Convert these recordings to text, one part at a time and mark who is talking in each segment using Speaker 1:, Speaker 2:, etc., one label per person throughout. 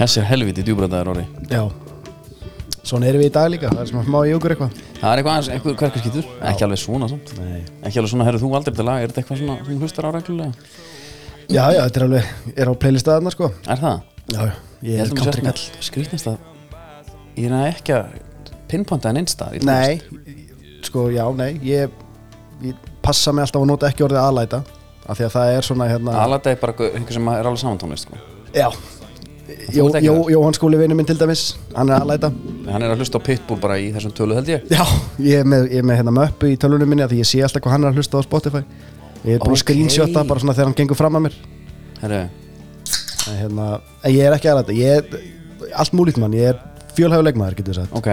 Speaker 1: Þessi er helviti djúbröðaður orði
Speaker 2: Já Svona erum við í dag líka, það er sem að má í okkur eitthvað
Speaker 1: Það er eitthvað aðeins, eitthvað kverkarskýtur Ekki alveg svona samt
Speaker 2: Nei
Speaker 1: Ekki alveg svona, herru þú aldrei þetta lag Er þetta eitthvað svona, þú hlustar á reglulega?
Speaker 2: Já, já, þetta er alveg, er á playlistaðarna sko
Speaker 1: Er það?
Speaker 2: Já, já, ég er
Speaker 1: held að maður sé
Speaker 2: country
Speaker 1: svona
Speaker 2: kall
Speaker 1: Skrýtnast að Ég er ekki að pinpointa hann einstað í tónlist.
Speaker 2: Nei, sko, já, nei Ég, ég passa mig alltaf að nota ekki orðið aðlæta Af því að það er svona hérna
Speaker 1: Alada er bara einhver- einhver sem er alveg samantónlist sko.
Speaker 2: Já Jó,
Speaker 1: ert ekki
Speaker 2: Jó,
Speaker 1: það?
Speaker 2: Jóhann skóli vinnu minn til dæmis, hann er aðlæta
Speaker 1: Hann er að hlusta á Pitbull bara í þessum tölu held ég
Speaker 2: Já, ég er með, ég er með hérna möppu í tölunum minni af Því ég sé alltaf hvað hann er að hlusta á Spotify Ég er búin
Speaker 1: Ókei.
Speaker 2: að screenshota bara svona þegar hann gengur fram að mér
Speaker 1: Herru,
Speaker 2: en, hérna, en ég er ekki aðlæta Ég er allt múlíkt mann, ég er fjölhæfuleikmaður getur sagt
Speaker 1: ok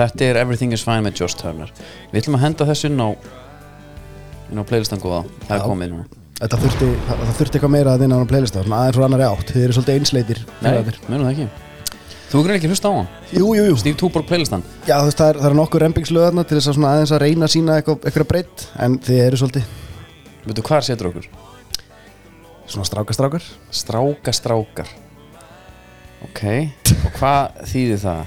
Speaker 1: Þetta er Everything is Fine með Josh Turner Við ætlum að henda þessu inn á inn á playlistan góða Það er
Speaker 2: Já.
Speaker 1: komið núna
Speaker 2: Þetta þurfti, það það þurfti eitthvað meira að þinn á hann playlista svona aðeins úr annar átt, þið eru svolítið einsleitir
Speaker 1: Nei, munum það ekki Þú grunir ekki að hlusta á hann
Speaker 2: Jú, jú, jú
Speaker 1: Steve Tuborg playlistan
Speaker 2: Já, þú veist, það er, það er nokkur rempingslöðarna til þess að svona aðeins að reyna að sína eitthvað, eitthvað breytt en þið eru svolítið
Speaker 1: Veitu hvað setur okkur?
Speaker 2: svona strákastrákar
Speaker 1: Stráka strákar Ok Og hvað þýðir það?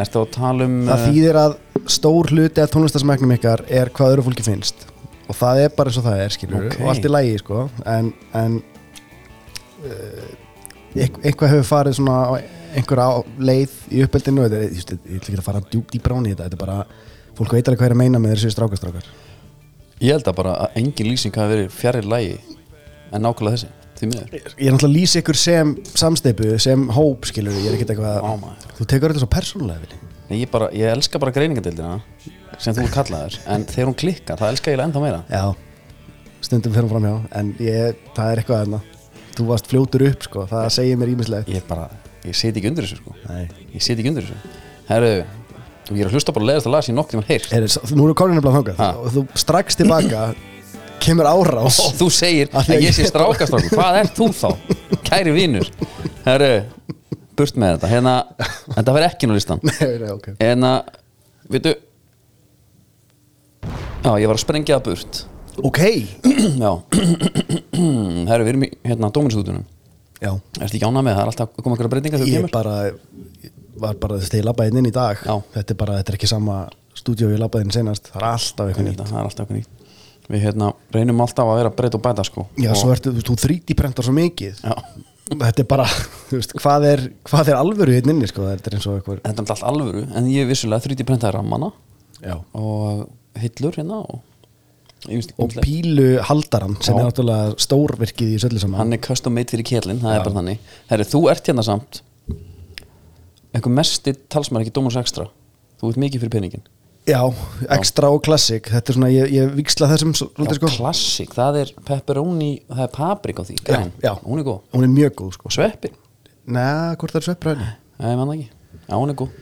Speaker 1: Ertu að tala um
Speaker 2: Það
Speaker 1: eh,
Speaker 2: þýðir að stór hluti af tónlistasmæknum ykkar er hvað öðru fólki finnst og það er bara eins og það er, skilur
Speaker 1: Ókei.
Speaker 2: og allt í lagi, sko en, en uh, einhvað hefur farið svona á einhverja á- leið í uppeldinu þetta, er- þú veist, ég ætla ekki að fara djúpt í bráni þetta, þetta er bara fólk veit alveg hvað er að meina með þessu strákastrákar
Speaker 1: Ég held að bara að engin lýsing hafi verið fjarrir lægi en nákvæmlega þessi, því miður
Speaker 2: ég er náttúrulega að lýsa ykkur sem samsteipu, sem hóp, skilur ég er ekkert eitthvað
Speaker 1: Vá, maður.
Speaker 2: þú tekur þetta svo persónulega, Vili
Speaker 1: Nei, ég, bara, ég elska bara greiningadeildina sem þú er kallaður, en þegar hún klikkar það elska ég eiginlega ennþá meira
Speaker 2: já, stundum fyrir fram hjá en ég, það er eitthvað þarna þú varst fljótur upp, sko, það segir mér ímislegt
Speaker 1: Ég bara, ég seti ekki undir þessu sko
Speaker 2: nei
Speaker 1: Ég seti ekki undir þessu Herru, og ég er að hlusta bara leðast að laga sér nokk tímann heyrt
Speaker 2: er, nú eru koninu blá þangað
Speaker 1: Ha.
Speaker 2: og þú strax tilbaka kemur árás
Speaker 1: Og þú segir
Speaker 2: Af því
Speaker 1: að
Speaker 2: að
Speaker 1: ég sé
Speaker 2: ég-
Speaker 1: strákastrákur Hvað er þú þá? Kæri vinur Herru, burt með þetta Hérna, þetta verð ekki nú listan
Speaker 2: nei, nei, ok
Speaker 1: En að, Hérna, veitu Já, ég var að sprengja það burt
Speaker 2: ok,
Speaker 1: Já Herru, við erum í, hérna, dóminstúdunum
Speaker 2: já
Speaker 1: Ertu ekki ánað með það? Það er alltaf að koma einhverja breytingar þegar þú
Speaker 2: ég
Speaker 1: kemur
Speaker 2: bara ég var bara þess til labbaðin inn í dag
Speaker 1: Já.
Speaker 2: þetta er bara, þetta er ekki sama stúdíu við labbaðin senast, hérna það er alltaf eitthvað nýtt
Speaker 1: Þetta, Það er alltaf eitthvað nýtt Við hérna, reynum alltaf að vera að breyta og bæta sko
Speaker 2: já,
Speaker 1: og,
Speaker 2: svo ertu, þú veist, þú 3D prentar svo mikið
Speaker 1: Já.
Speaker 2: þetta er bara, þú veist, hvað er hvað er alvöru hérna inni, sko, þetta er eins og eitthvað
Speaker 1: Þetta er alltaf alvöru En ég er vissulega 3D prentaði rammana
Speaker 2: já.
Speaker 1: Og hillur hérna Og,
Speaker 2: og pílu haldaran sem
Speaker 1: Já.
Speaker 2: er náttúrulega stórvirkið í söllu saman
Speaker 1: Hann er custom made fyrir kjellin Það er bara þannig Herri, þú ert hérna samt Einhver mesti talsmar ekki Dómurs Extra Þú ert mikið fyrir peningin
Speaker 2: já, extra og classic þetta er svona, ég, ég viksla þessum svolítið,
Speaker 1: Já,
Speaker 2: sko.
Speaker 1: Klassik, það er pepperoni Það er paprika á því
Speaker 2: já,
Speaker 1: græn.
Speaker 2: já.
Speaker 1: Hún er góð
Speaker 2: hún er mjög góð, sko
Speaker 1: Og sveppi
Speaker 2: neða, hvort það er sveppræðin
Speaker 1: Nei, mann ekki Já, hún er góð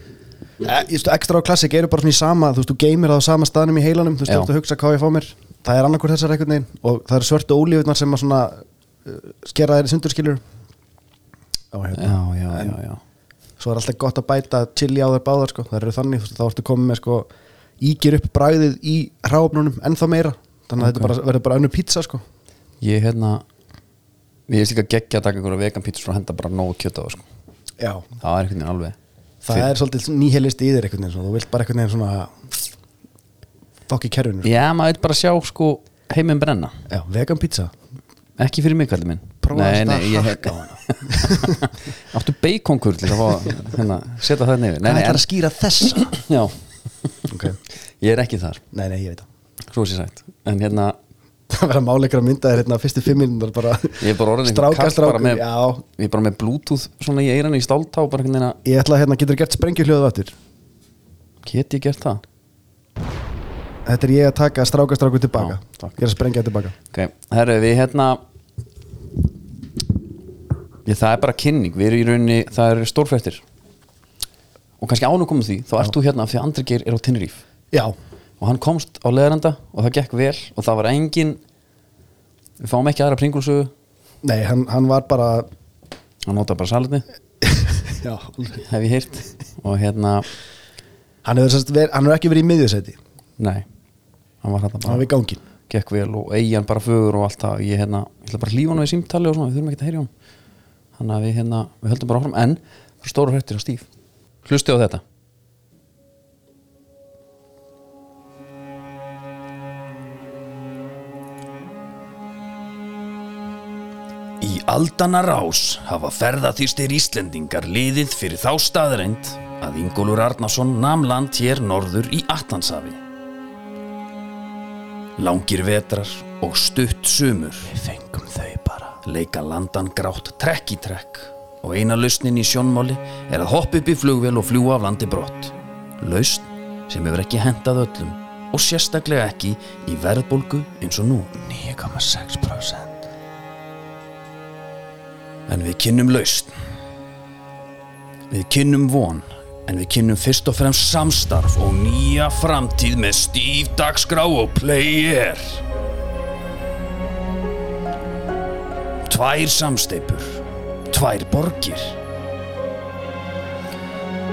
Speaker 2: extra og classic eru bara svona í sama þú veist, þú geymir það á sama staðnum í heilanum þú veist,
Speaker 1: Já.
Speaker 2: þú ert að hugsa hvað ég fá mér það er annarkur þessar einhvern veginn og það eru svörtu ólífurnar sem að svona uh, skera þeir í sundurskilur og hérna
Speaker 1: Já, já, já, já
Speaker 2: svo er alltaf gott að bæta chili á þær báðar sko. það eru þannig, þú veist, þá ertu komið með sko, ígir upp bræðið í hráöfnunum ennþá meira, þannig að þetta bara, verður bara önnu pizza sko.
Speaker 1: Ég hérna Ég er líka geggja að taka einhverja vegan pítsur og henda bara nógu kjöt á það, sko.
Speaker 2: já,
Speaker 1: Það er einhvern veginn alveg
Speaker 2: það er svolítið nýhelist í þér einhvern veginn, svona. þú vilt bara einhvern veginn svona fokk í kerfinu sko.
Speaker 1: Já, maður vil bara sjá sko heiminn brenna
Speaker 2: já, vegan pizza
Speaker 1: Ekki fyrir mig kallið minn
Speaker 2: Prófaðu þetta að
Speaker 1: ég-
Speaker 2: hakka á
Speaker 1: Áttu beikonkur til að fá hérna, setja það nefnir Nei, nei,
Speaker 2: ætlarðu að skýra þessa
Speaker 1: en Já
Speaker 2: ok,
Speaker 1: Ég er ekki þar,
Speaker 2: nei, nei, ég veit það
Speaker 1: svo sé sagt En hérna,
Speaker 2: það verða máleikra myndaðir hérna fyrstu fimm minnundar bara
Speaker 1: ég er bara orðin einhver
Speaker 2: stráka,
Speaker 1: kall
Speaker 2: stráka,
Speaker 1: bara með,
Speaker 2: já
Speaker 1: Ég er bara með bluetooth svona í eiranu í stáltá bara einhvern veginn að
Speaker 2: ég ætla að hérna, getur gert sprengjuhljóðu aftur
Speaker 1: Get ég gert það?
Speaker 2: þetta er ég að taka stráka, stráku tilbaka
Speaker 1: Já, takk.
Speaker 2: ég er að sprengja tilbaka
Speaker 1: Ok, herru, við hérna ég, Það er bara kynning, við erum í rauninni það eru stórfréttir og kannski án og komum því, þá ert þú hérna af því að Andri Geir er á Tinneríf
Speaker 2: já,
Speaker 1: og hann komst á leðaranda og það gekk vel og það var engin við fáum ekki aðra pringulsögu
Speaker 2: Nei, hann, hann var bara
Speaker 1: hann nota bara salinni,
Speaker 2: já,
Speaker 1: hef ég heyrt og hérna,
Speaker 2: hann, hefur, sérst verið, hann hefur ekki verið í miðjusæti
Speaker 1: nei hann var hérna
Speaker 2: Hann var
Speaker 1: bara,
Speaker 2: við gangin
Speaker 1: gekk vel og eigin bara fögur og allt það, ég hérna, ég ætla bara að hlífa hann við símtali og svona, við þurfum ekki að heyra hann þannig að við, hérna, við höldum bara áfram en það er stóru hrættir á stíf hlusti á þetta
Speaker 3: Í aldana rás hafa ferðaþýstir Íslendingar liðið fyrir þá staðreind að Ingólfur Arnason nam land hér norður í Atlantshafi. Langir vetrar og stutt sumur Við fengum þau bara. Leika landan grátt trekk í trekk og eina lausnin í sjónmáli er að hoppa upp í flugvél og fljúa af landi brott. Lausn sem hefur ekki hentað öllum og sérstaklega ekki í verðbólgu eins og nú. 9,6% En við kynnum lausn. Við kynnum von, en við kynnum fyrst og fremst samstarf og nýja framtíð með stíf dagskrá og player. Tvær samsteipur, tvær borgir.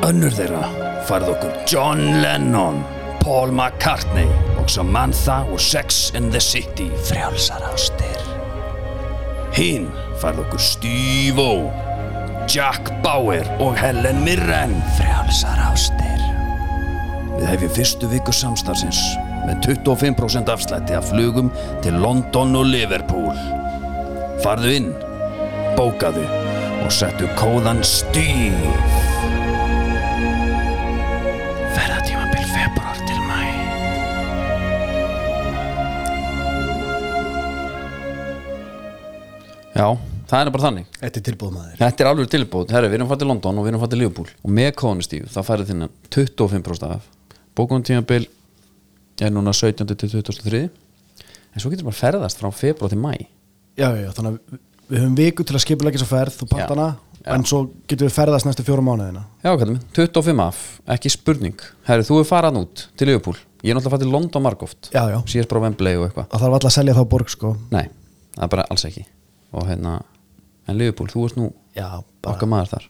Speaker 3: Önnur þeirra færð okkur John Lennon, Paul McCartney og Samantha og Sex and the City frjálsar ástir. Hinn færð okkur Steve-O, Jack Bauer og Helen Mirren. Frjálsar ástir. Við hefjum fyrstu viku samstarfsins með 25% afslætti af flugum til London og Liverpool. Farðu inn, bókaðu og settu kóðan Steve. Ferðatímabil februar til mæ.
Speaker 1: já, það er bara þannig
Speaker 2: Þetta er tilbúð maður
Speaker 1: þetta er alveg tilbúð, herru, við erum fætt til London og við erum fætt til Liverpool og með kóðunni stíf, það færið þinnan 25% af bókunum tímabil er núna 17. til 23. en svo getur bara ferðast frá februar til mæ
Speaker 2: Já, já, þannig að við- við höfum viku til að skipulegja svo ferð og
Speaker 1: Já,
Speaker 2: pantana
Speaker 1: já.
Speaker 2: En svo getum við ferðast næstu fjóra mánuðina
Speaker 1: Já, kallum, 25 af, ekki spurning Herri, þú er farað út til Liverpool Ég er náttúrulega farið til London margóft
Speaker 2: Já, já.
Speaker 1: Síðast bara á Wembley og eitthvað
Speaker 2: Það þarf alltaf að selja þá borg sko
Speaker 1: Nei, það er bara alls ekki Og hérna, en Liverpool, þú ert nú
Speaker 2: Já,
Speaker 1: okkar maður þar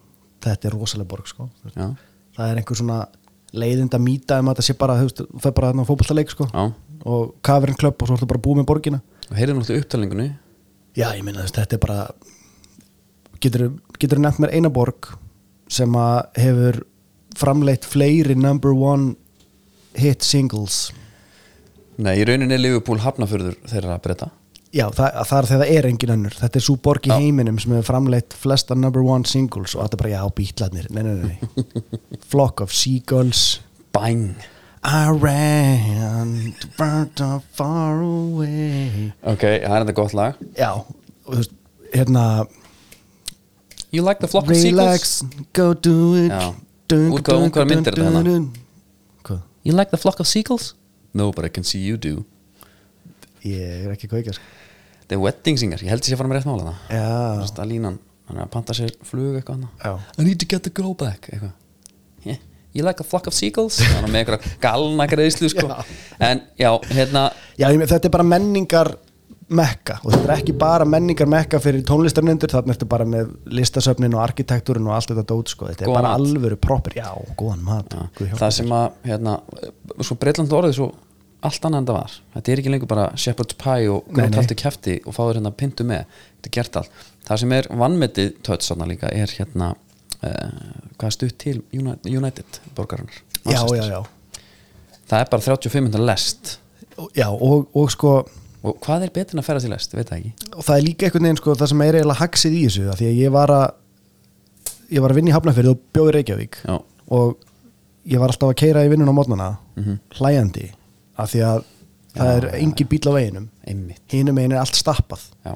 Speaker 2: Þetta er rosalega borg sko Þú veist,
Speaker 1: Já,
Speaker 2: Það er einhver svona leiðinda mýta um að þetta sé bara, þú veist, þú fer bara þarna á fótballtaleik sko
Speaker 1: já
Speaker 2: Og kafirinn klöpp og svo ertu bara búið með borgina
Speaker 1: Og heyrðum náttúrulega upptalingunni
Speaker 2: Já, ég minna, þetta er bara getur, getur nefnt mér eina borg sem að hefur framleitt fleiri number one hit singles
Speaker 1: Nei, í rauninni er Liverpool hafnafurður þeirra að breyta
Speaker 2: Já, það, það er þegar það er engin önnur Þetta er svo borg í heiminum sem hefur framleitt flesta number one singles og þetta er bara, já, bítlarnir Nei, nei, nei, nei Flock of Seagulls
Speaker 1: Bang
Speaker 2: I ran to burnt up far away
Speaker 1: Ok, það er þetta gott lag
Speaker 2: Já, og þú veist, hérna
Speaker 1: You like the flock of seagulls
Speaker 2: Relax, go do it
Speaker 1: Já.
Speaker 2: Dun,
Speaker 1: Útgáfa
Speaker 2: dun,
Speaker 1: Ungverja
Speaker 2: dun,
Speaker 1: myndir
Speaker 2: dun,
Speaker 1: þetta hérna.
Speaker 2: dun. Hvað?
Speaker 1: You like the flock of seagulls No, but I can see you do
Speaker 2: Ég er ekki kveikar
Speaker 1: The wedding singer, ég held ég sé að fara með rétt mála það
Speaker 2: Já,
Speaker 1: Þetta línan, hann er að panta sér flug eitthvað annað
Speaker 2: já
Speaker 1: I need to get the girl back eitthvað yeah. You like a flock of seagulls Þannig með einhverja galna greiðslu sko.
Speaker 2: Já.
Speaker 1: En já, hérna
Speaker 2: Já, ég meina, þetta er bara menningar mekka og þetta er ekki bara menningar mekka fyrir tónlistarnendur, þannig ertu bara með listasöfnin og arkitektúrin og allt þetta dót sko. þetta er
Speaker 1: Góðan
Speaker 2: bara
Speaker 1: mat.
Speaker 2: alvöru proper, já, góðan mat Guð hjálpi
Speaker 1: Það
Speaker 2: þér.
Speaker 1: sem að hérna, Svo breytland orðið svo allt annað en það var Þetta er ekki lengur bara shepherd's pie og
Speaker 2: Nei, nei.
Speaker 1: grjótaltu kæfti og fáður hérna pintu með Þetta er gert allt Það sem er vannmetið tödd sannar líka er hérna uh, hvað er stutt til Uni- United borgarinnar
Speaker 2: Já,
Speaker 1: Manchester.
Speaker 2: já, já,
Speaker 1: Það er bara 35 minnur lest
Speaker 2: Og- já og, og sko og
Speaker 1: og hvað er betur en að ferða til lest, veit það ekki
Speaker 2: það er líka einhvern veginn sko, það sem er eiginlega haxið í þessu, af því að ég var að ég var að vinna í Hafnafjörðu og bjóði Reykjavík
Speaker 1: Já.
Speaker 2: og ég var alltaf að keira í vinnun á mótnana
Speaker 1: Mhm.
Speaker 2: hlæjandi, af því að það er engin bíl á veginum
Speaker 1: Einmitt,
Speaker 2: hinum megin er allt stappað
Speaker 1: já,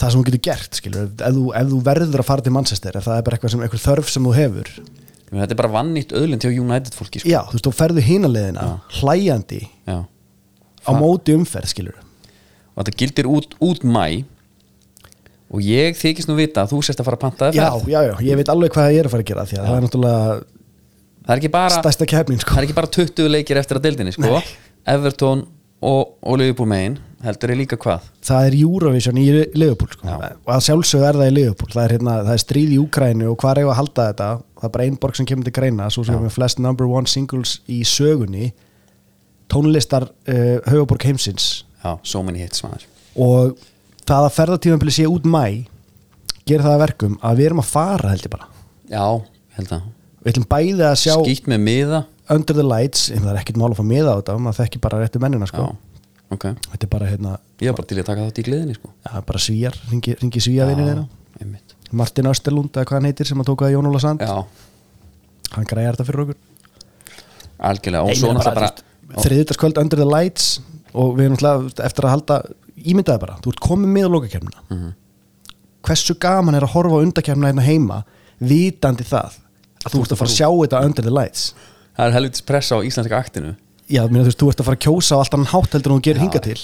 Speaker 2: það sem þú getur gert skilur, ef, þú, ef þú verður að fara til Manchester ef það er bara eitthvað sem, eitthvað þörf sem þú hefur
Speaker 1: Ég meina, þetta er bara vannýtt öðlind hjá United fólki sko.
Speaker 2: já, þú veist, þú ferðu hínaleðina hlæjandi
Speaker 1: Já.
Speaker 2: á móti umferð skilur
Speaker 1: og þetta gildir út, út mæ og ég þykist nú vita að þú sérst að fara að panta þér
Speaker 2: já,
Speaker 1: ferð.
Speaker 2: já, já, ég veit alveg hvað ég er að fara að gera því að það er náttúrulega
Speaker 1: það er ekki bara
Speaker 2: stærsta kefnin sko.
Speaker 1: það er ekki bara 20 leikir eftir að deildinni sko.
Speaker 2: Nei.
Speaker 1: Everton og, og Liverpool megin heldur ég líka hvað
Speaker 2: það er Eurovision í Liverpool sko. og að sjálfsögðu er það í Liverpool það er, hérna, það er stríð í Ukrænu og hvað er að halda þetta það er bara ein borg sem kemur til greina svo sem við flest number one singles í sögunni tónlistar uh, höfuborg heimsins
Speaker 1: já, so many hits maður
Speaker 2: og það að ferðartímanbili sé út mæ gerir það að verkum að við erum að fara held ég bara
Speaker 1: Já, ég held að
Speaker 2: við ætlum bæði að sjá
Speaker 1: Skýtt með miða
Speaker 2: Under the Lights, ég meina, það er ekkert mál að fá miða á þetta maður þekki bara réttu mennina
Speaker 1: Já,
Speaker 2: sko
Speaker 1: ok
Speaker 2: þetta er bara, hérna,
Speaker 1: Ég var bara til í að taka þátt í gleðinni sko
Speaker 2: ja, bara svíjar ringi, ringi svíjavinni þeirra
Speaker 1: einmitt
Speaker 2: Martin Österlund, eða hvað hann heitir, sem að tóka að Jón Óla Sand
Speaker 1: Já,
Speaker 2: hann græjar þetta fyrir okkur
Speaker 1: algjörlega Og
Speaker 2: Nei,
Speaker 1: svo
Speaker 2: ég meina
Speaker 1: náttúrulega bara,
Speaker 2: bara þriðutaskvöld Under the Lights og við erum alltaf eftir að halda ímyndaði bara, þú ert komið með að loka kemna
Speaker 1: Mhm.
Speaker 2: hversu gaman er að horfa á undakemna hérna heima, vitandi það að þú ert að fara að sjá þetta Under the Lights
Speaker 1: það er helvitis pressa á íslenska aktinu
Speaker 2: já, minna, þú, veist, þú ert að fara að kjósa á allt annan hátt heldur en þú gerir hinga til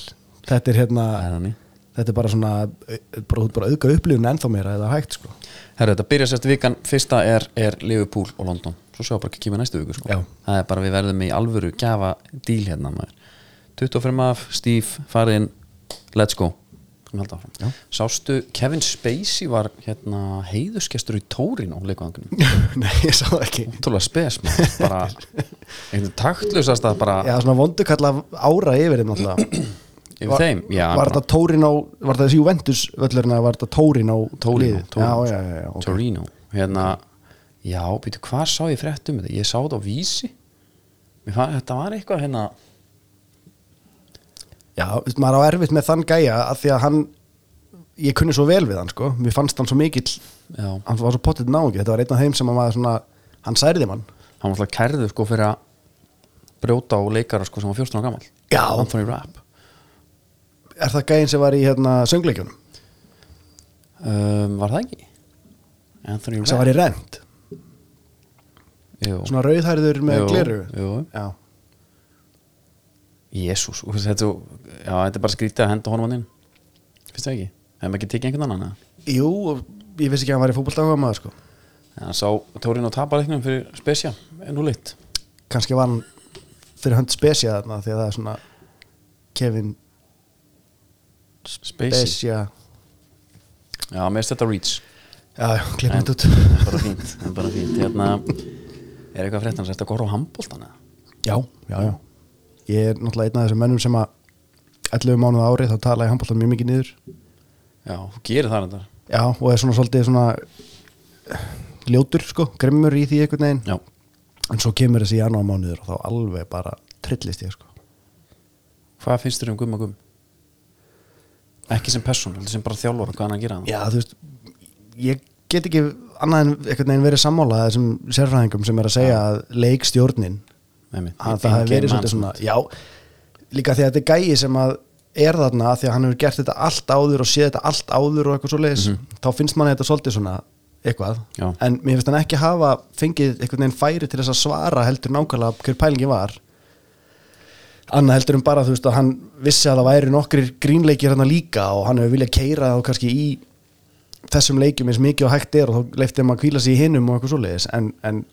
Speaker 2: þetta er hérna
Speaker 1: Það er hann í
Speaker 2: þetta er bara svona, eh, bara, þú ert bara að auka upplifun ennþá meira eða hægt sko
Speaker 1: Herra, þetta byrja sérst vikan, fyrsta er, er Liverpool og London, svo sjá bara ekki kemur næstu viku sko.
Speaker 2: Já.
Speaker 1: það er bara við verðum í alvöru gjafa díl hérna maður 25 af, Steve, farinn let's go Skulum halda áfram. Sástu, Kevin Spacey var hérna heiðuskestur í Tórin á leikvangunum,
Speaker 2: nei, ég sá það ekki
Speaker 1: tóla spes maður, bara, einhvern taktlausast að bara,
Speaker 2: já, svona vondukalla ára yfir þeim alltaf
Speaker 1: yfir þeim já,
Speaker 2: var
Speaker 1: bara,
Speaker 2: þetta Tórin á, var þetta Juventus völlurinn eða var þetta Tórin á
Speaker 1: Torino,
Speaker 2: já,
Speaker 1: Torino,
Speaker 2: já, já, já, ok.
Speaker 1: Torino hérna, já, býtu, hvað sá ég fréttum um þetta? ég sá þetta á vísi Mér fann, þetta var eitthvað hérna
Speaker 2: já, veist, maður á erfitt með þann gæja að því að hann ég kunni svo vel við hann sko mér fannst hann svo mikill,
Speaker 1: já,
Speaker 2: hann var svo pottet náungi þetta var einn af þeim sem hann var svona hann særði mann
Speaker 1: hann var alltaf kærður sko fyrir að brjóta á leikara sko sem var 14 ára gammal
Speaker 2: Já.
Speaker 1: Anthony Rapp
Speaker 2: er það gæjin sem var í hérna söngleikjunum
Speaker 1: um, var það ekki? Anthony Rapp
Speaker 2: sem var í rent,
Speaker 1: Jú.
Speaker 2: svona rauðhærður með
Speaker 1: Jú,
Speaker 2: gleru
Speaker 1: jú.
Speaker 2: já
Speaker 1: Jésús, og þetta, er svo- já, þetta er bara skrítið að henda honum hann inn finnst það ekki? hefum ekki tekið einhvern annan eða?
Speaker 2: Jú, og ég vissi ekki að hann var í fótboltaáhuga maður sko
Speaker 1: En hann sá Tórin og taparleiknum fyrir Spesja en úr leitt
Speaker 2: kannski var hann fyrir hönd spesja þarna því að það er svona Kevin
Speaker 1: Spesi,
Speaker 2: Spesja
Speaker 1: já, mér finnst þetta Reach
Speaker 2: Já, já, klippum
Speaker 1: En-
Speaker 2: þetta út
Speaker 1: bara fínt, en bara fínt hérna, er eitthvað fréttan sem þetta að horfa á handbóltan eða?
Speaker 2: Já, já, já Ég er náttúrulega einn af þessum mönnum sem að 11 mánuð ári þá tala ég handbóltan mjög mikið niður
Speaker 1: já, þú gerir það reyndar
Speaker 2: Já, og er svona svolítið svona eh, ljótur sko, grimmur í því einhvern veginn
Speaker 1: já,
Speaker 2: en svo kemur þessi janúar mánuður og þá alveg bara trillist ég sko
Speaker 1: hvað finnst þér um Gumma Gumm? ekki sem person, heldur sem bara þjálfur hvað hann er að gera hann
Speaker 2: Já, þú veist, ég get ekki annað en einhvern veginn verið sammála þessum sérfræðingum sem er að segja að leikstjórnin
Speaker 1: Einmitt.
Speaker 2: að það hefur verið svolítið svona já, líka því að þetta er gæi sem að er þarna af því að hann hefur gert þetta allt áður og séð þetta allt áður og eitthvað svo leiðis þá finnst manni þetta svolítið svona eitthvað,
Speaker 1: Mhm. Já.
Speaker 2: en mér finnst hann ekki hafa fengið einhvern veginn færi til þess að svara heldur nákvæmlega hver pælingi var annað heldur um bara þú veist að hann vissi að það væri nokkrir grínleikir hann líka og hann hefur viljað keira þá kannski í þessum leikjum eins mikið og hægt er og þá leifti maður að kvíla sig í hinum og eitthvað svoleiðis en, en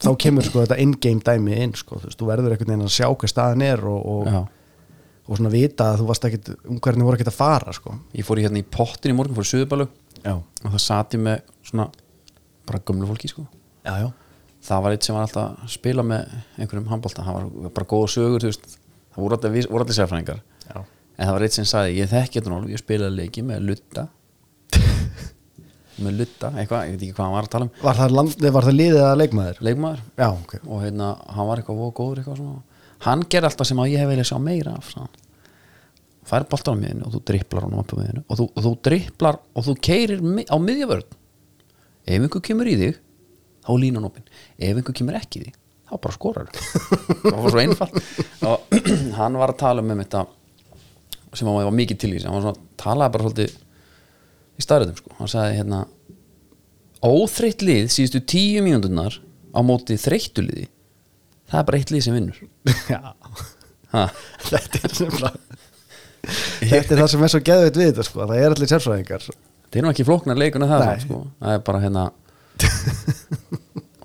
Speaker 2: þá kemur sko þetta in-game dæmi inn sko, þú veist, þú verður einhvern veginn að sjá hver staðan er og,
Speaker 1: Já.
Speaker 2: og, og svona vita að þú varst ekkit um hvernig voru ekkit að fara sko
Speaker 1: ég fór í hérna í pottin í morgun, fór í suðubalug
Speaker 2: Já,
Speaker 1: og það sat ég með svona bara gömlu fólki sko
Speaker 2: já, já
Speaker 1: það var eitt sem var alltaf að spila með einhverjum handbólta, það var bara góða sögur þú veist, það voru allir, vis- voru allir sérfræðingar
Speaker 2: Já.
Speaker 1: en það var eitt sem sagði, ég þekki þetta nálum ég spilaði leiki með Lutta með Lutta, eitthvað, ég veit ekki hvað hann var að tala um
Speaker 2: Var það, land, var það liðið að leikmaður?
Speaker 1: leikmaður,
Speaker 2: Já, ok
Speaker 1: og hérna, hann var eitthvað voða góður eitthvað svona, hann gerði alltaf sem að ég hef viljað sjá meira af sann. fær boltan á miðinu og þú dripplar honum upp á miðinu og þú, og þú dripplar og þú keirir mi- á miðjavörn ef einhver kemur í þig þá er línan opinn, ef einhver kemur ekki í þig þá bara skorar það var svo einfalt og hann var að tala um þetta sem hann var mikið til í sig, hann var svona, talaði bara svolítið í starriðum sko, hann sagði hérna óþreytt lið síðustu tíu mínúturnar á móti þreyttu liði það er bara eitt lið sem vinnur
Speaker 2: Já,
Speaker 1: ha.
Speaker 2: þetta er nefnilega Þetta er það sem er svo geðveit við þetta sko, það er allir sérfræðingar
Speaker 1: það er nú ekki flóknar leikuna það
Speaker 2: Nei.
Speaker 1: samt, sko. það er bara hérna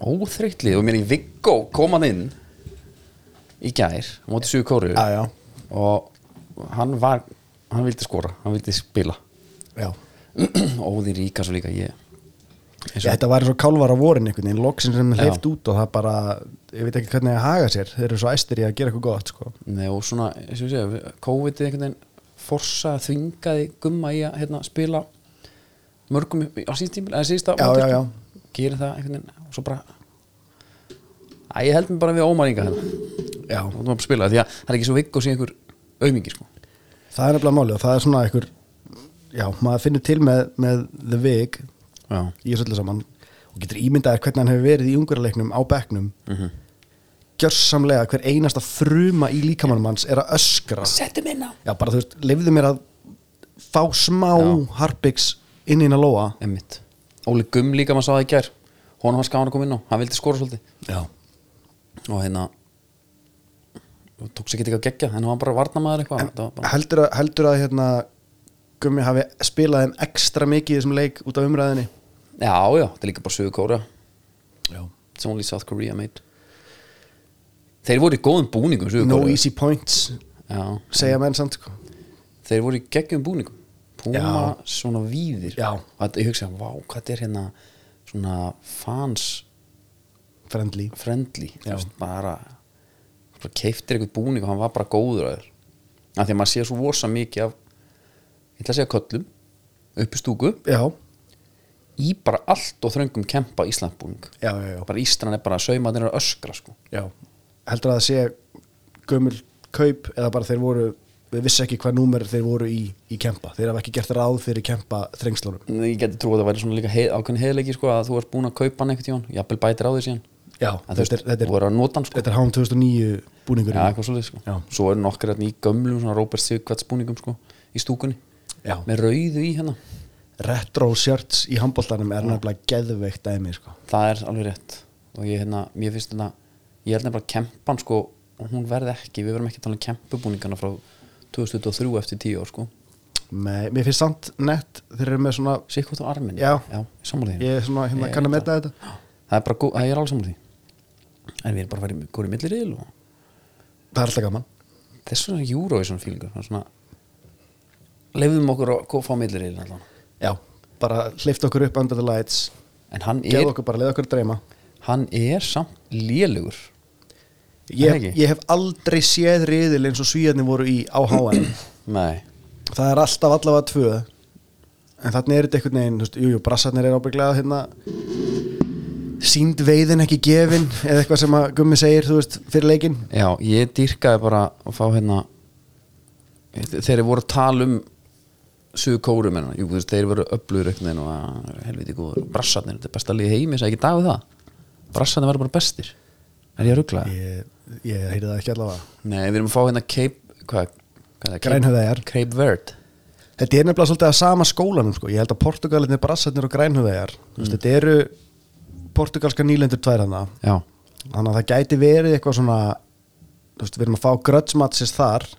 Speaker 1: óþreytt lið og mér í Viggo kom hann inn í gær á móti Suðu Kóru
Speaker 2: Já, já,
Speaker 1: og hann var hann vildi skora, hann vildi spila
Speaker 2: já
Speaker 1: óðin ríka svo líka ég eins
Speaker 2: Já,
Speaker 1: og-
Speaker 2: þetta var eins og kálvar á vorin einhvern veginn, loksin sem
Speaker 1: Já.
Speaker 2: hleyft út og það bara, ég veit ekki hvernig það haga sér, þeir eru svo æstir í að gera eitthvað gott, sko.
Speaker 1: Nei, og svona, eins og ég segja, COVID einhvern veginn forsa, þvingaði gumma í að hérna, spila mörgum á síðst tímil eða síðsta
Speaker 2: Já,
Speaker 1: móti,
Speaker 2: já, já.
Speaker 1: sko. gerir það einhvern veginn og svo bara Æ, ég held mér bara við ómæringa hérna
Speaker 2: Já.
Speaker 1: og þú maður spila því að það er ekki svo vigg og sé einhver aumingi sko
Speaker 2: það er nefnilega máli og það er svona einhver já, maður finnur til með, með The Vig
Speaker 1: já,
Speaker 2: í þessu öllu saman og getur ímyndaðir hvernig hann hefur verið í ungurleiknum á bekknum
Speaker 1: Mhm.
Speaker 2: gjörsamlega hver einasta fruma í líkamannum hans er að öskra
Speaker 1: settu minna
Speaker 2: já, bara þú veist, lefðu mér að fá smá
Speaker 1: Já.
Speaker 2: harpiks inn í hinn að lóa
Speaker 1: Emmitt, Óli Gumm líka maður sá það í gær honum var skáðan að koma inn á, hann vildi skora svolítið
Speaker 2: já,
Speaker 1: og hérna og tók sér ekki ekki að gegja, en hann var bara varnamaður eitthvað Þetta var bara,
Speaker 2: heldur að, heldur að hérna, Gummi hafi spilað þeim ekstra mikið í þessum leik út af umræðinni
Speaker 1: já, já, þetta er líka bara sögur kóra
Speaker 2: já.
Speaker 1: It's only South Korea made Þeir voru í góðum búningum sögur
Speaker 2: no
Speaker 1: Kóreu.
Speaker 2: easy points
Speaker 1: Já,
Speaker 2: segja menn samt sko.
Speaker 1: þeir voru í geggjum búningum Puma svona víðir
Speaker 2: Já.
Speaker 1: og þetta, ég hugsa, vá, hvað þetta er hérna svona fans
Speaker 2: friendly
Speaker 1: friendly þú
Speaker 2: Já.
Speaker 1: veist, bara, bara keiftir eitthvað búning og hann var bara góður að þér af því að maður sé svo vosa mikið af ég ætla að segja köllum upp í stúku
Speaker 2: já,
Speaker 1: í bara allt og þröngum kempa Íslandbúning
Speaker 2: já, já, já.
Speaker 1: bara Ísland er bara að sauma þeirra öskra sko.
Speaker 2: já. heldur að það sé gömul kaup eða bara þeir voru við vissi ekki hvað númer þeir voru í, í kempa þeir hafa ekki gert ráð fyrir kempa þrengslunum
Speaker 1: ég geti trú að það væri svona líka heið, ákveðin heiðleiki sko, að þú ert búin að kaupa hann einhvern tíðan jafnvel bætir á því síðan
Speaker 2: já,
Speaker 1: En
Speaker 2: þetta er, þetta er,
Speaker 1: þú verður að nota hann sko.
Speaker 2: þetta er hán 2009 búningur
Speaker 1: Já, eitthvað svolítið sko.
Speaker 2: Já.
Speaker 1: Svo eru nokkar hérna í gömlum svona Robert Sigvarts búningum sko, í stúkunni
Speaker 2: Já.
Speaker 1: með rauðu í hérna
Speaker 2: retro shirts í handbóltanum er nefnilega geðveikt dæmi sko.
Speaker 1: það er alveg rétt og ég hérna, mér finnst hérna ég held nefnilega að kempan sko og hún verði ekki, við verðum ekki að tala um kempubúningana frá 2023 eftir 10 ár sko
Speaker 2: Með, mér finnst samt nett þeir eru með svona
Speaker 1: Sigvart og Armin
Speaker 2: Já.
Speaker 1: já sammála því.
Speaker 2: ég er svona hérna
Speaker 1: Ég
Speaker 2: kann
Speaker 1: held
Speaker 2: að metta þetta
Speaker 1: það er bara, gó- það er alveg sammála því en við erum bara að fara í góri milliril og
Speaker 2: það er alltaf gaman
Speaker 1: þess vegna Eurovision fílingur svona lefðum okkur að kó- fá milliril allan
Speaker 2: já, bara hlifta okkur upp under the lights
Speaker 1: en hann er,
Speaker 2: geða okkur bara, leða okkur að dreyma
Speaker 1: hann er samt lélugur Er
Speaker 2: ég,
Speaker 1: það ekki?
Speaker 2: ég hef aldrei séð riðil eins og svíjarnir voru í á HM
Speaker 1: nei
Speaker 2: það er alltaf allavega tvö en þannig er þetta einhvern veginn þú veist, jú, jú, brassarnir er ábygglega hérna sínd veiðin ekki gefin eða eitthvað sem að gummi segir, þú veist, fyrir leikin
Speaker 1: Já, ég dýrkaði bara að fá hérna þeir voru að tala um suðu kórum hérna, jú, þú veist, þeir voru öflugur einhvern veginn og að, helviti góður brassarnir, þetta er besta liði heimi, sagði ekki dag við það brassarnir verður bara bestir er ég að ruggla?
Speaker 2: ég, ég heyrði það ekki allavega
Speaker 1: Nei, við erum að fá hérna Cape, hvað, hvað er það?
Speaker 2: Grænhöfðaeyjar.
Speaker 1: Cape Verde
Speaker 2: þetta er nefnilega svolítið að sama skólanum sko. ég held að portugalinni, brassarnir og grænhöfðegar þú veist, þetta eru portugalska nýlendur tvær hana
Speaker 1: Já,
Speaker 2: þannig að það gæti verið eitthvað svona þú veist, við erum að fá grötsmatsis þar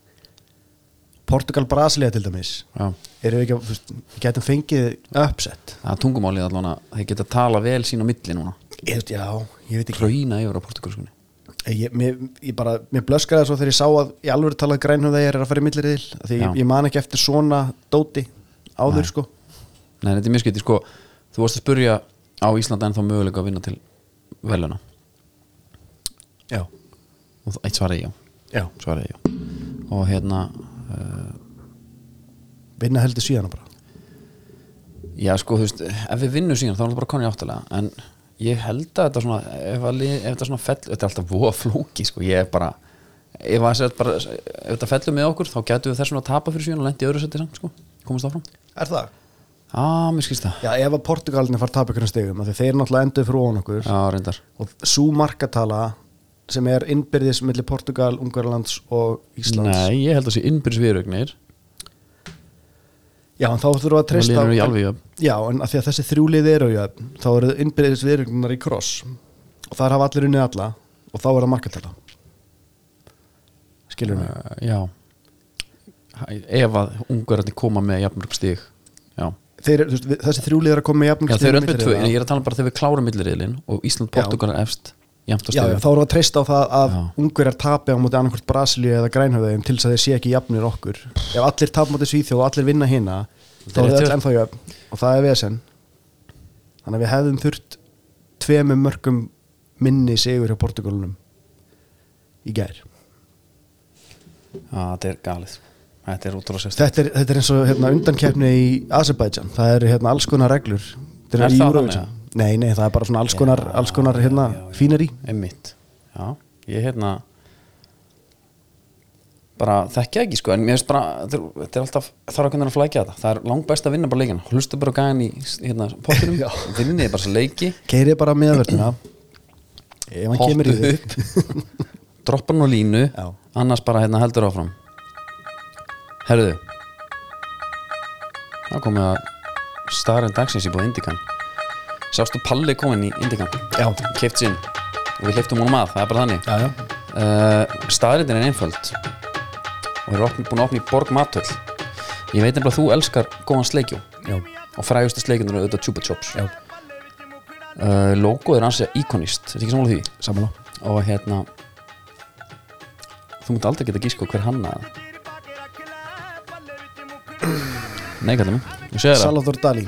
Speaker 2: Portugal-Brasilia til dæmis
Speaker 1: já,
Speaker 2: erum við ekki að, þú veist, við gætum fengið uppset
Speaker 1: það er tungumálið allan að þeir geta að tala vel sín á milli núna
Speaker 2: ég, veist, já, ég veit ekki
Speaker 1: hrauna yfir á portugalskunni
Speaker 2: ég, mér, ég bara, mér blöskraði svo þegar ég sá að í alvöru talað grænhöfðegir er að fara í millirðil því
Speaker 1: Já.
Speaker 2: ég, ég man ekki eftir svona dóti áður sko
Speaker 1: Nei, þetta er mjög skytið, sko Þú varst að spurja á Íslanda en þá möguleika að vinna til veluna
Speaker 2: já,
Speaker 1: og það- eitt svaraði já,
Speaker 2: já.
Speaker 1: svaraði já og hérna uh,
Speaker 2: vinna heldur síðan bara
Speaker 1: já sko þú veist, ef við vinnum síðan þá er það bara konið áttalega en ég held að þetta svona ef, að, lið- ef þetta svona fell, þetta er alltaf voða flóki sko, ég er bara ef, að, segja bara, ef þetta fellur með okkur þá getum við þessum að tapa fyrir síðan og lendi öðru seti samt sko, komast áfram
Speaker 2: er það?
Speaker 1: ah, mér skilst það,
Speaker 2: já, ef að Portugalinni fara að tapa ykkur stegum af því þeir náttúrulega endur frá on okkur
Speaker 1: já reyndar
Speaker 2: og svo markatala sem er innbyrðis millir Portugal, Ungarlands og Íslands
Speaker 1: Nei, ég held að sé innbyrðis viðrögnir
Speaker 2: já, en þá þurfum við að
Speaker 1: og
Speaker 2: treysta
Speaker 1: liðin eru í
Speaker 2: á-
Speaker 1: alveg jöfn.
Speaker 2: já, en að því að þessi þrjúlið eru já, þá eru innbyrðis viðrögnar í kross og þar hafa allir unnið alla og þá er það markatala skilur mig
Speaker 1: uh, já Hæ- ef að ungararnir koma með jafnmörg stig já
Speaker 2: þeir, eru, þú veist, við- þessi þrjúlið eru að koma með jafn
Speaker 1: Já, þau eru öll með tvö, en ég er að tala bara þegar við klárum milliriðlin og Ísland Portugal er efst jæmt á
Speaker 2: Já, já,
Speaker 1: stöðu
Speaker 2: þá erum við að treysta á það að
Speaker 1: Já.
Speaker 2: ungverjar tapi á móti annarkvort Brasilíu eða grænhöfðum til þess að þeir sé ekki jafnir okkur ef allir tap móti Svíþjóð og allir vinna hina þá
Speaker 1: er
Speaker 2: er
Speaker 1: rétt
Speaker 2: það
Speaker 1: hjá-
Speaker 2: ennþá jöfn og það er vesen þannig að við hefðum þurft tveimum mörgum minni sigur hjá Portugalunum í gær
Speaker 1: Já, þetta er galið Þetta er útrúlega sérst
Speaker 2: þetta er, þetta er eins og hérna, undankeppni í Azerbaijan það eru hérna, alls konar reglur Þetta
Speaker 1: Er
Speaker 2: í
Speaker 1: það
Speaker 2: Eurovision.
Speaker 1: þannig,
Speaker 2: Nei, nei, það er bara svona alls konar, alls konar hérna, fínir í
Speaker 1: Einmitt Já, ég hérna bara þekkja ekki sko en mér finnst bara, þetta er- þetta er alltaf þarf að kunna að flækja þetta, það er langbæst að vinna bara leikina hlusta bara gæðan í hérna pottinum vinninni er bara svo leiki
Speaker 2: Keirið bara meðverðina Ef hann kemur í þig
Speaker 1: upp droppa nú línu,
Speaker 2: Já.
Speaker 1: annars bara hérna heldur áfram Herðu Það komið að starinn dagsins í búið Indikan Sástu Palli kominn í Indikan
Speaker 2: Já.
Speaker 1: Keift sinn og við hleyftum honum að, það er bara þannig
Speaker 2: Já, já.
Speaker 1: uh, Staðrindin er einföld og er opn, búin að opna í Borg Matöll Ég veit nefnilega að þú elskar góðan sleikjó
Speaker 2: Já.
Speaker 1: og frægustu sleikjundur eru auðvitað Chupa Chups
Speaker 2: Já.
Speaker 1: uh, Logoð er ansið íkonist, þetta ekki sammála því?
Speaker 2: Samanlá
Speaker 1: og hérna þú mútt aldrei geta gíska hver hanna það. nei kallum ég sé það
Speaker 2: Salvador Dalí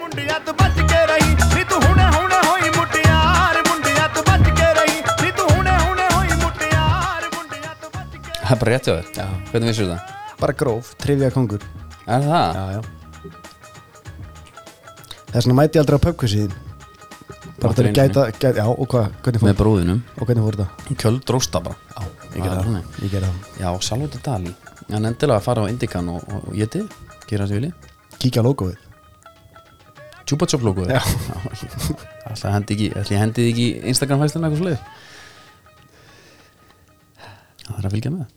Speaker 4: ਮੁੰਡਿਆ ਤੂੰ ਬਚ ਕੇ ਰਹੀ ਨੀ ਤੂੰ ਹੁਣੇ ਹੁਣੇ ਹੋਈ ਮੁਟਿਆਰ ਮੁੰਡਿਆ ਤੂੰ ਬਚ ਕੇ ਰਹੀ ਨੀ ਤੂੰ ਹੁਣੇ ਹੁਣੇ ਹੋਈ ਮੁਟਿਆਰ ਮੁੰਡਿਆ ਤੂੰ ਬਚ ਕੇ
Speaker 1: það er bara rétt hjá þér hvernig vissir það?
Speaker 2: Bara gróf, trivja kongur
Speaker 1: er það?
Speaker 2: já. Þess vegna mæti ég aldrei á pubquizið Bara
Speaker 1: Máttir
Speaker 2: til að
Speaker 1: einu
Speaker 2: gæta, gæta Já, og hvað, hvernig fór
Speaker 1: með bróðinum
Speaker 2: Og hvernig fór þetta?
Speaker 1: kjöld drósta bara já, ég geta það
Speaker 2: Ég gerði það
Speaker 1: já, Salvador Dali en endilega að fara á Indikan og, og, og getið gera þessi vilji
Speaker 2: Kíkja á logoið
Speaker 1: Chupa Chup logoðu
Speaker 2: Já.
Speaker 1: Alltaf hendi ekki, ætli ég hendi þig ekki í Instagram hæstina eitthvað svolítið Það er að fylgja með